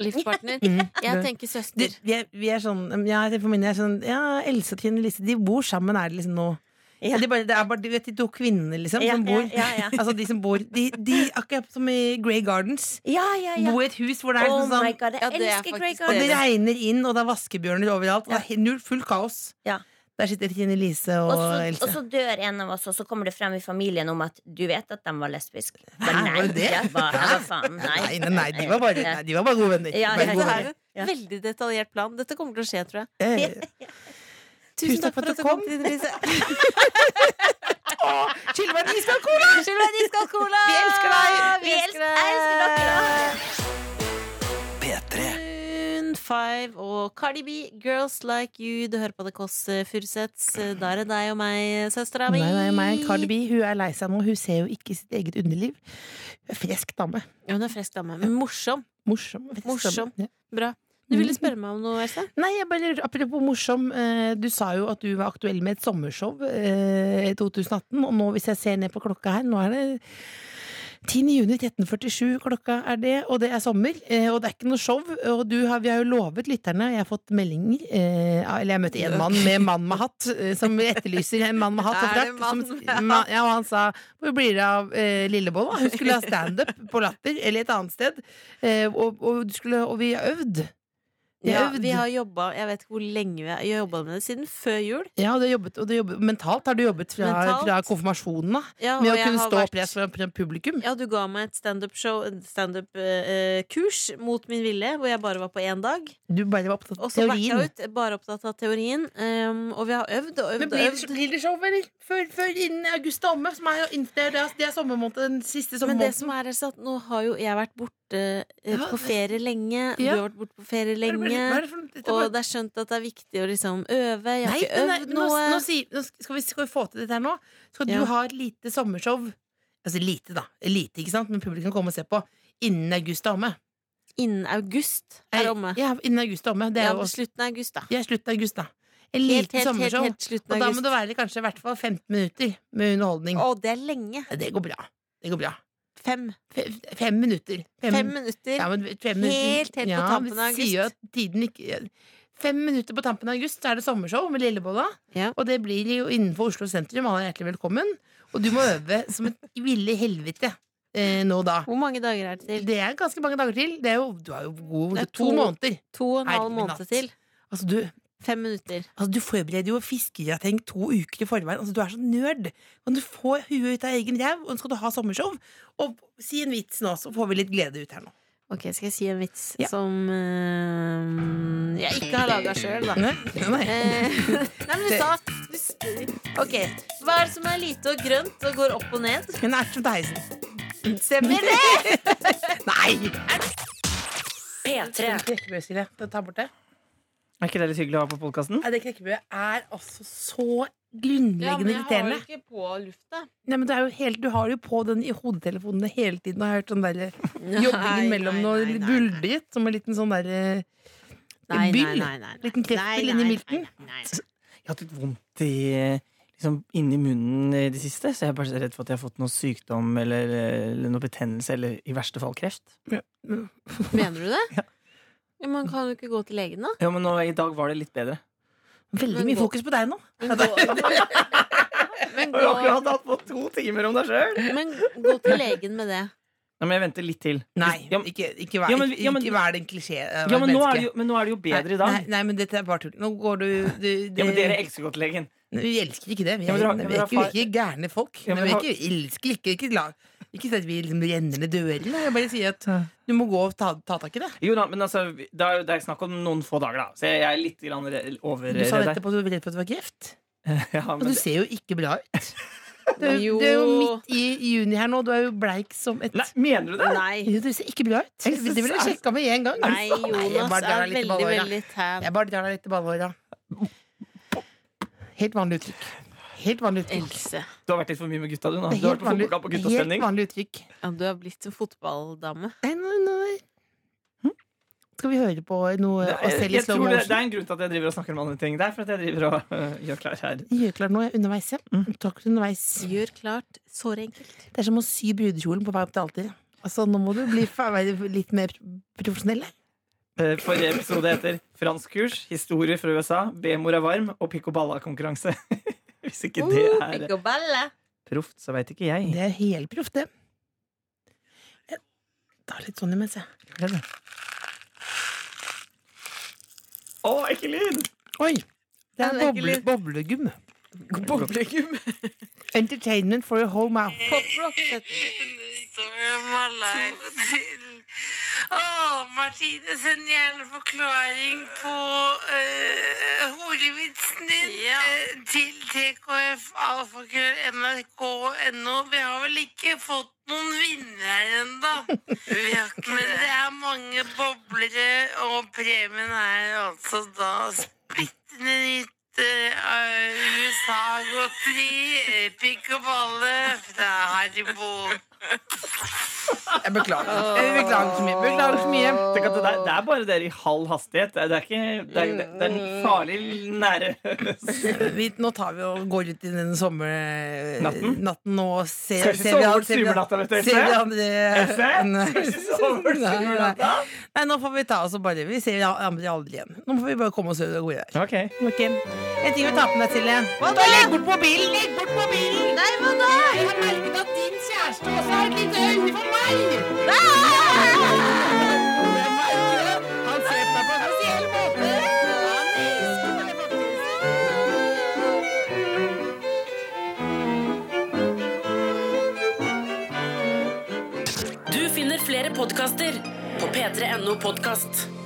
Speaker 3: Livspartner?
Speaker 4: Mm.
Speaker 3: Jeg
Speaker 4: Det-
Speaker 3: tenker
Speaker 4: Du,
Speaker 3: søster.
Speaker 4: vi, er, vi er sånn Ja, jeg tenker for min del er sånn Ja, Else og Trine Lise, de bor sammen, er det liksom nå?
Speaker 1: Ja.
Speaker 4: Det, er bare, det er bare de, vet, de to kvinnene, liksom,
Speaker 1: Ja,
Speaker 4: som bor.
Speaker 1: ja, ja, ja.
Speaker 4: Altså, de som bor de, de, akkurat som i Grey Gardens,
Speaker 1: Ja, ja, ja.
Speaker 4: bor i et hus hvor det er
Speaker 1: Oh
Speaker 4: sånn,
Speaker 1: my god, jeg
Speaker 3: Ja, det er
Speaker 1: elsker Grey
Speaker 3: faktisk
Speaker 4: Og det
Speaker 1: Garden.
Speaker 4: regner inn, og det er vaskebjørner overalt. Og det er he- null, fullt kaos.
Speaker 1: Ja.
Speaker 4: Der sitter Trine Lise og,
Speaker 1: Og så,
Speaker 4: Else.
Speaker 1: og så dør en av oss, og så kommer det frem i familien om at du vet at de var lesbiske.
Speaker 4: Hæ, var det det?
Speaker 1: Ja, hva, hva faen?
Speaker 4: nei, nei, nei, de var bare, nei, de var bare gode venner.
Speaker 1: Ja,
Speaker 4: Bare
Speaker 1: ja,
Speaker 4: gode
Speaker 3: Det er
Speaker 4: venner.
Speaker 3: en veldig detaljert plan. Dette kommer til å skje, tror jeg.
Speaker 4: Eh,
Speaker 3: Tusen takk for at du kom, Trine Lise.
Speaker 4: Kildevann, iskalkon!
Speaker 3: Unnskyld meg, de skal ha cola!
Speaker 4: Vi elsker deg!
Speaker 1: Vi elsker- elsker dere!
Speaker 3: Cardi B, Girls Like You. Du hører på The Kåss eh, Furuseths. Eh, Da er det deg og meg, eh, søstera mi.
Speaker 4: Nei, nei, nei, Cardi B hun er lei seg nå. Hun ser jo ikke sitt eget underliv. Hun er frisk dame.
Speaker 3: Ja, Hun er frisk dame. Men morsom.
Speaker 4: Morsom. frisk dame.
Speaker 3: Morsom.
Speaker 4: Ja.
Speaker 3: Bra. Du ville
Speaker 4: Mm.
Speaker 3: spørre meg om noe, Else?
Speaker 4: Nei, jeg bare, lurer- apropos morsom. eh, Du sa jo at du var aktuell med et sommershow eh, i 2018. Og nå hvis jeg ser ned på klokka her, nå er det 10. juni 1347 klokka er det, og det er sommer. eh, Og det er ikke noe show. Og du har, vi har jo lovet lytterne, jeg har fått meldinger eh, Eller jeg møtte en mann med mann med hatt, eh, som etterlyser en mann med hatt. og
Speaker 3: Er det
Speaker 4: frakk,
Speaker 3: mann
Speaker 4: som-
Speaker 3: med hatt?
Speaker 4: ma- Ja, og han sa hvor blir det av eh, Lillebolla? Hun skulle ha standup på Latter eller et annet sted. Eh, og, og, du skulle, og vi har øvd. Vi
Speaker 3: Ja,
Speaker 4: har øvd.
Speaker 3: vi har jobba Jeg vet ikke hvor lenge vi har vi har jobba med det. Siden før jul.
Speaker 4: Ja, og du har jobbet, og du har jobbet, mentalt har du jobbet fra,
Speaker 3: Mentalt.
Speaker 4: fra konfirmasjonen da,
Speaker 3: Ja,
Speaker 4: med
Speaker 3: og
Speaker 4: å
Speaker 3: jeg
Speaker 4: kunne
Speaker 3: har
Speaker 4: stå
Speaker 3: vært-
Speaker 4: oppreist fra fra publikum.
Speaker 3: Ja, du ga meg et standup-show, standup-kurs eh, mot min vilje, hvor jeg bare var på én dag.
Speaker 4: Du bare var opptatt
Speaker 3: Og
Speaker 4: av
Speaker 3: så backa
Speaker 4: teorien.
Speaker 3: jeg ut, bare opptatt av teorien. ehm, og vi har øvd og
Speaker 4: Men
Speaker 3: øvd og
Speaker 4: blir det,
Speaker 3: øvd.
Speaker 4: blir det show, eller? Før, før innen august er omme, som er, jo inn- det er, det er- det er sommermåneden, den siste
Speaker 3: Men det
Speaker 4: sommermåneden.
Speaker 3: som er, Else, at nå har jo jeg vært borte eh,
Speaker 4: Ja,
Speaker 3: på ferie lenge. Du
Speaker 4: ja.
Speaker 3: har vært borte på ferie
Speaker 4: Hva er det-
Speaker 3: lenge.
Speaker 4: hva er det for- dette er
Speaker 3: Og
Speaker 4: bare-
Speaker 3: det er skjønt at det er viktig å liksom øve. Jeg har
Speaker 4: Nei,
Speaker 3: ikke
Speaker 4: men nei,
Speaker 3: øvd
Speaker 4: men nå,
Speaker 3: noe.
Speaker 4: nå, sier, nå skal, vi, skal vi få til dette her nå. Skal
Speaker 3: Ja.
Speaker 4: du ha et lite sommershow Altså lite, da. Lite, ikke sant? Men publikum kommer og ser på. Innen august er omme.
Speaker 3: Innen august
Speaker 4: Nei,
Speaker 3: er omme.
Speaker 4: Ja, innen august er omme. Det er
Speaker 3: Ja,
Speaker 4: jo også-
Speaker 3: slutten av august, da.
Speaker 4: ja, slutten av august, da. En
Speaker 3: Helt, helt,
Speaker 4: lite
Speaker 3: helt,
Speaker 4: sommershow.
Speaker 3: helt slutten
Speaker 4: Og
Speaker 3: av
Speaker 4: da må
Speaker 3: august.
Speaker 4: det være kanskje i hvert fall 15 minutter med underholdning.
Speaker 3: Å, det er lenge.
Speaker 4: Ja, Det går bra. Det går bra.
Speaker 3: Fem.
Speaker 4: Fe- Fem minutter.
Speaker 3: Fem minutter.
Speaker 4: ja, men fem
Speaker 3: Helt, helt på
Speaker 4: ja,
Speaker 3: tampen
Speaker 4: vi
Speaker 3: av august.
Speaker 4: Sier jo at tiden ikke Fem minutter på tampen av august, så er det sommershow med Lillebolla.
Speaker 3: Ja.
Speaker 4: Og det blir jo innenfor Oslo sentrum. Alle er hjertelig velkommen. Og du må øve som et ville helvete eh, nå da.
Speaker 3: Hvor mange dager er det til?
Speaker 4: Det er ganske mange dager til. Det er jo, du er jo god
Speaker 3: Det er
Speaker 4: det er to,
Speaker 3: to-
Speaker 4: måneder.
Speaker 3: To og en halv måned
Speaker 4: Herreminatt.
Speaker 3: til.
Speaker 4: Altså, du,
Speaker 3: Fem minutter.
Speaker 4: altså, du forbereder jo fiskegrateng to uker i forveien. Altså, du er så nerd. Kan du få huet ut av egen ræv, og så skal du ha sommershow? Og si en vits nå, så får vi litt glede ut her nå.
Speaker 3: Ok, skal jeg si en vits
Speaker 4: Ja.
Speaker 3: som eh, jeg ikke har laga sjøl, da.
Speaker 4: Nei, nei.
Speaker 3: Eh, Nei, men du sa du, s- Ok, hva er det som er lite og grønt og går opp og ned?
Speaker 4: Hun er som Theisen.
Speaker 3: Stemmer det?
Speaker 4: Nei!
Speaker 1: P3.
Speaker 4: Knekkebrød, Silje. Det tar bort det.
Speaker 6: Er ikke det litt hyggelig å ha på podkasten?
Speaker 4: Nei, det knekkebrødet er altså så grunnleggende irriterende.
Speaker 3: ikke på lufta.
Speaker 4: Nei, men det er jo helt, Du har det jo på den i hodetelefonene hele tiden. Og jeg har hørt sånn der
Speaker 3: Nei,
Speaker 4: jobbingen mellom
Speaker 3: nei,
Speaker 4: noe
Speaker 3: nei, nei,
Speaker 4: buldret, som en liten sånn derre
Speaker 3: Nei, nei,
Speaker 4: byll.
Speaker 3: nei, nei, nei.
Speaker 4: Liten kreftel
Speaker 3: Nei, nei,
Speaker 4: inni
Speaker 3: nei,
Speaker 4: milten.
Speaker 3: nei, nei, nei.
Speaker 6: Jeg har hatt litt vondt i eh, liksom, inni munnen i det siste, så jeg er bare så redd for at jeg har fått noe sykdom eller, eh, eller noe betennelse, eller i verste fall kreft.
Speaker 3: Mener du det? Ja, Man kan jo ikke gå til legen, da.
Speaker 6: Ja, men nå, i dag var det litt bedre.
Speaker 4: Veldig
Speaker 3: Men
Speaker 4: mye
Speaker 3: gå-
Speaker 4: fokus på deg nå.
Speaker 3: Men gå, men
Speaker 6: Har du
Speaker 3: gå,
Speaker 6: akkurat hatt på to timer om deg sjøl?
Speaker 3: men gå til legen med det.
Speaker 6: Men jeg venter litt til.
Speaker 4: Nei,
Speaker 6: Ja, men-
Speaker 4: ikke, ikke, vær,
Speaker 6: Ja, men- ja, men-
Speaker 4: ikke vær den klisjé. eh,
Speaker 6: Ja, men nå er
Speaker 4: menneske.
Speaker 6: det jo, men nå er det jo bedre
Speaker 4: Nei,
Speaker 6: i dag.
Speaker 4: nei, men dette er bare tull. Nå går du, du det,
Speaker 6: Ja, men dere elsker godt legen.
Speaker 4: Vi elsker ikke det. Vi
Speaker 6: Ja,
Speaker 4: er, vi er
Speaker 6: men dere har- ja, men
Speaker 4: ikke,
Speaker 6: dere har
Speaker 4: vi er ikke gærne folk.
Speaker 6: Ja, men
Speaker 4: men vi er
Speaker 6: dere har-
Speaker 4: ikke, elsker ikke Ikke, la- ikke si at vi liksom renner ned dørene. Jeg bare sier at du må gå og ta, ta tak i det.
Speaker 6: Jo da, men altså, vi- det er, det er snakk om noen få dager, da. Så jeg er litt grann re-
Speaker 4: Du sa
Speaker 6: overredd. her.
Speaker 4: nettopp at du var redd for at det var kreft.
Speaker 6: Ja,
Speaker 4: Og
Speaker 6: men
Speaker 4: du
Speaker 6: det-
Speaker 4: ser jo ikke bra ut. Du, er jo- du er jo midt i juni her nå. Du er jo bleik som et
Speaker 6: Nei, mener du det?
Speaker 3: Nei.
Speaker 4: Jo, Du ser ikke bra ut.
Speaker 6: Jeg synes
Speaker 4: Det ville jeg sjekka med en gang.
Speaker 3: Nei,
Speaker 4: jeg bare
Speaker 3: Jonas er
Speaker 4: drar deg litt
Speaker 3: veldig,
Speaker 4: i ballhåret.
Speaker 3: veldig tan.
Speaker 4: Jeg bare drar deg litt i ballhåra. Helt vanlig uttrykk. Helt vanlig uttrykk.
Speaker 3: Else,
Speaker 6: Du har vært litt for mye med gutta, du. nå Du har
Speaker 4: Helt
Speaker 6: vært på
Speaker 4: vanlig,
Speaker 6: fotballkamp og
Speaker 4: helt
Speaker 6: guttastemning.
Speaker 4: vanlig uttrykk.
Speaker 3: ja, du har blitt en fotballdame.
Speaker 4: Nei, nei, nei. Skal vi høre på noe
Speaker 6: Det
Speaker 4: av
Speaker 6: er-
Speaker 4: selv i
Speaker 6: Jeg
Speaker 4: slow
Speaker 6: tror det, det er
Speaker 4: motion?
Speaker 6: en grunn til at jeg driver og snakker om andre ting. Det er for at jeg driver og øh, gjør klar her.
Speaker 4: Gjør klart noe underveis, ja.
Speaker 6: Mm.
Speaker 4: Takk underveis.
Speaker 3: Gjør klart. Såre enkelt.
Speaker 4: Det er som å sy brudekjolen på vei opp til alteret. Altså, nå må du bli, fa- være litt mer profesjonell. her.
Speaker 6: Eh, Forrige episode heter 'Franskkurs. Historier fra USA. B-mor er varm. Og pikk og balla-konkurranse'. Hvis ikke
Speaker 4: Uh.
Speaker 6: det
Speaker 3: Oh,
Speaker 6: er
Speaker 3: pikk og balle.
Speaker 6: proft, så veit ikke jeg.
Speaker 4: Det er helproft, det. Jeg tar litt sånn imens, jeg.
Speaker 6: Å, ekkel lyd!
Speaker 4: Oi! Det
Speaker 3: Ja,
Speaker 4: er
Speaker 3: det er ikke
Speaker 4: boble,
Speaker 3: lyd.
Speaker 4: boblegum.
Speaker 3: Boblegum.
Speaker 4: Entertainment for your whole mouth.
Speaker 3: Poprock.
Speaker 4: Å, Martine, send gjerne forklaring på uh, hodevitsen din eh, til tkfalfakrøll.nrk.no. Vi har vel ikke fått noen vinnere ennå. Men det er mange boblere, og premien er altså da splittende nytt eh, USA-godteri, eh, pikk og balle fra Haribo. Jeg beklager. Jeg beklager så mye. Beklager så mye.
Speaker 6: Tenk at det, der, det er bare dere i halv hastighet. Det er, det er ikke det er, det er
Speaker 4: Mm.
Speaker 6: farlig nære.
Speaker 4: vi, nå tar vi og går ut i den sommernatten
Speaker 6: Natten?
Speaker 4: natten og ser,
Speaker 6: Skal
Speaker 4: ser,
Speaker 6: ikke
Speaker 4: vi,
Speaker 6: sove
Speaker 4: an-
Speaker 6: bort
Speaker 4: ser, vi, an-
Speaker 6: sommernatta, vet du,
Speaker 4: ser vi
Speaker 6: Else?
Speaker 4: andre
Speaker 6: Skal ikke sove
Speaker 4: Nei,
Speaker 6: bort
Speaker 4: nei, nei.
Speaker 6: sommernatta?
Speaker 4: Nei, nå får vi ta oss og bare Vi ser andre aldri igjen. Nå får vi bare komme oss ut og gå i der.
Speaker 6: Ok.
Speaker 4: Ok. En ting vi tar med deg, Silje. Hva da? Legg bort mobilen! Legg bort mobilen! Nei, hva da? Jeg har merket at din kjæreste også har et lite øye for meg! Ah! Jeg merker det. Han ser på meg på en spesiell måte. Han elsker meg faktisk.
Speaker 7: Du finner flere podkaster på p3.no podkast.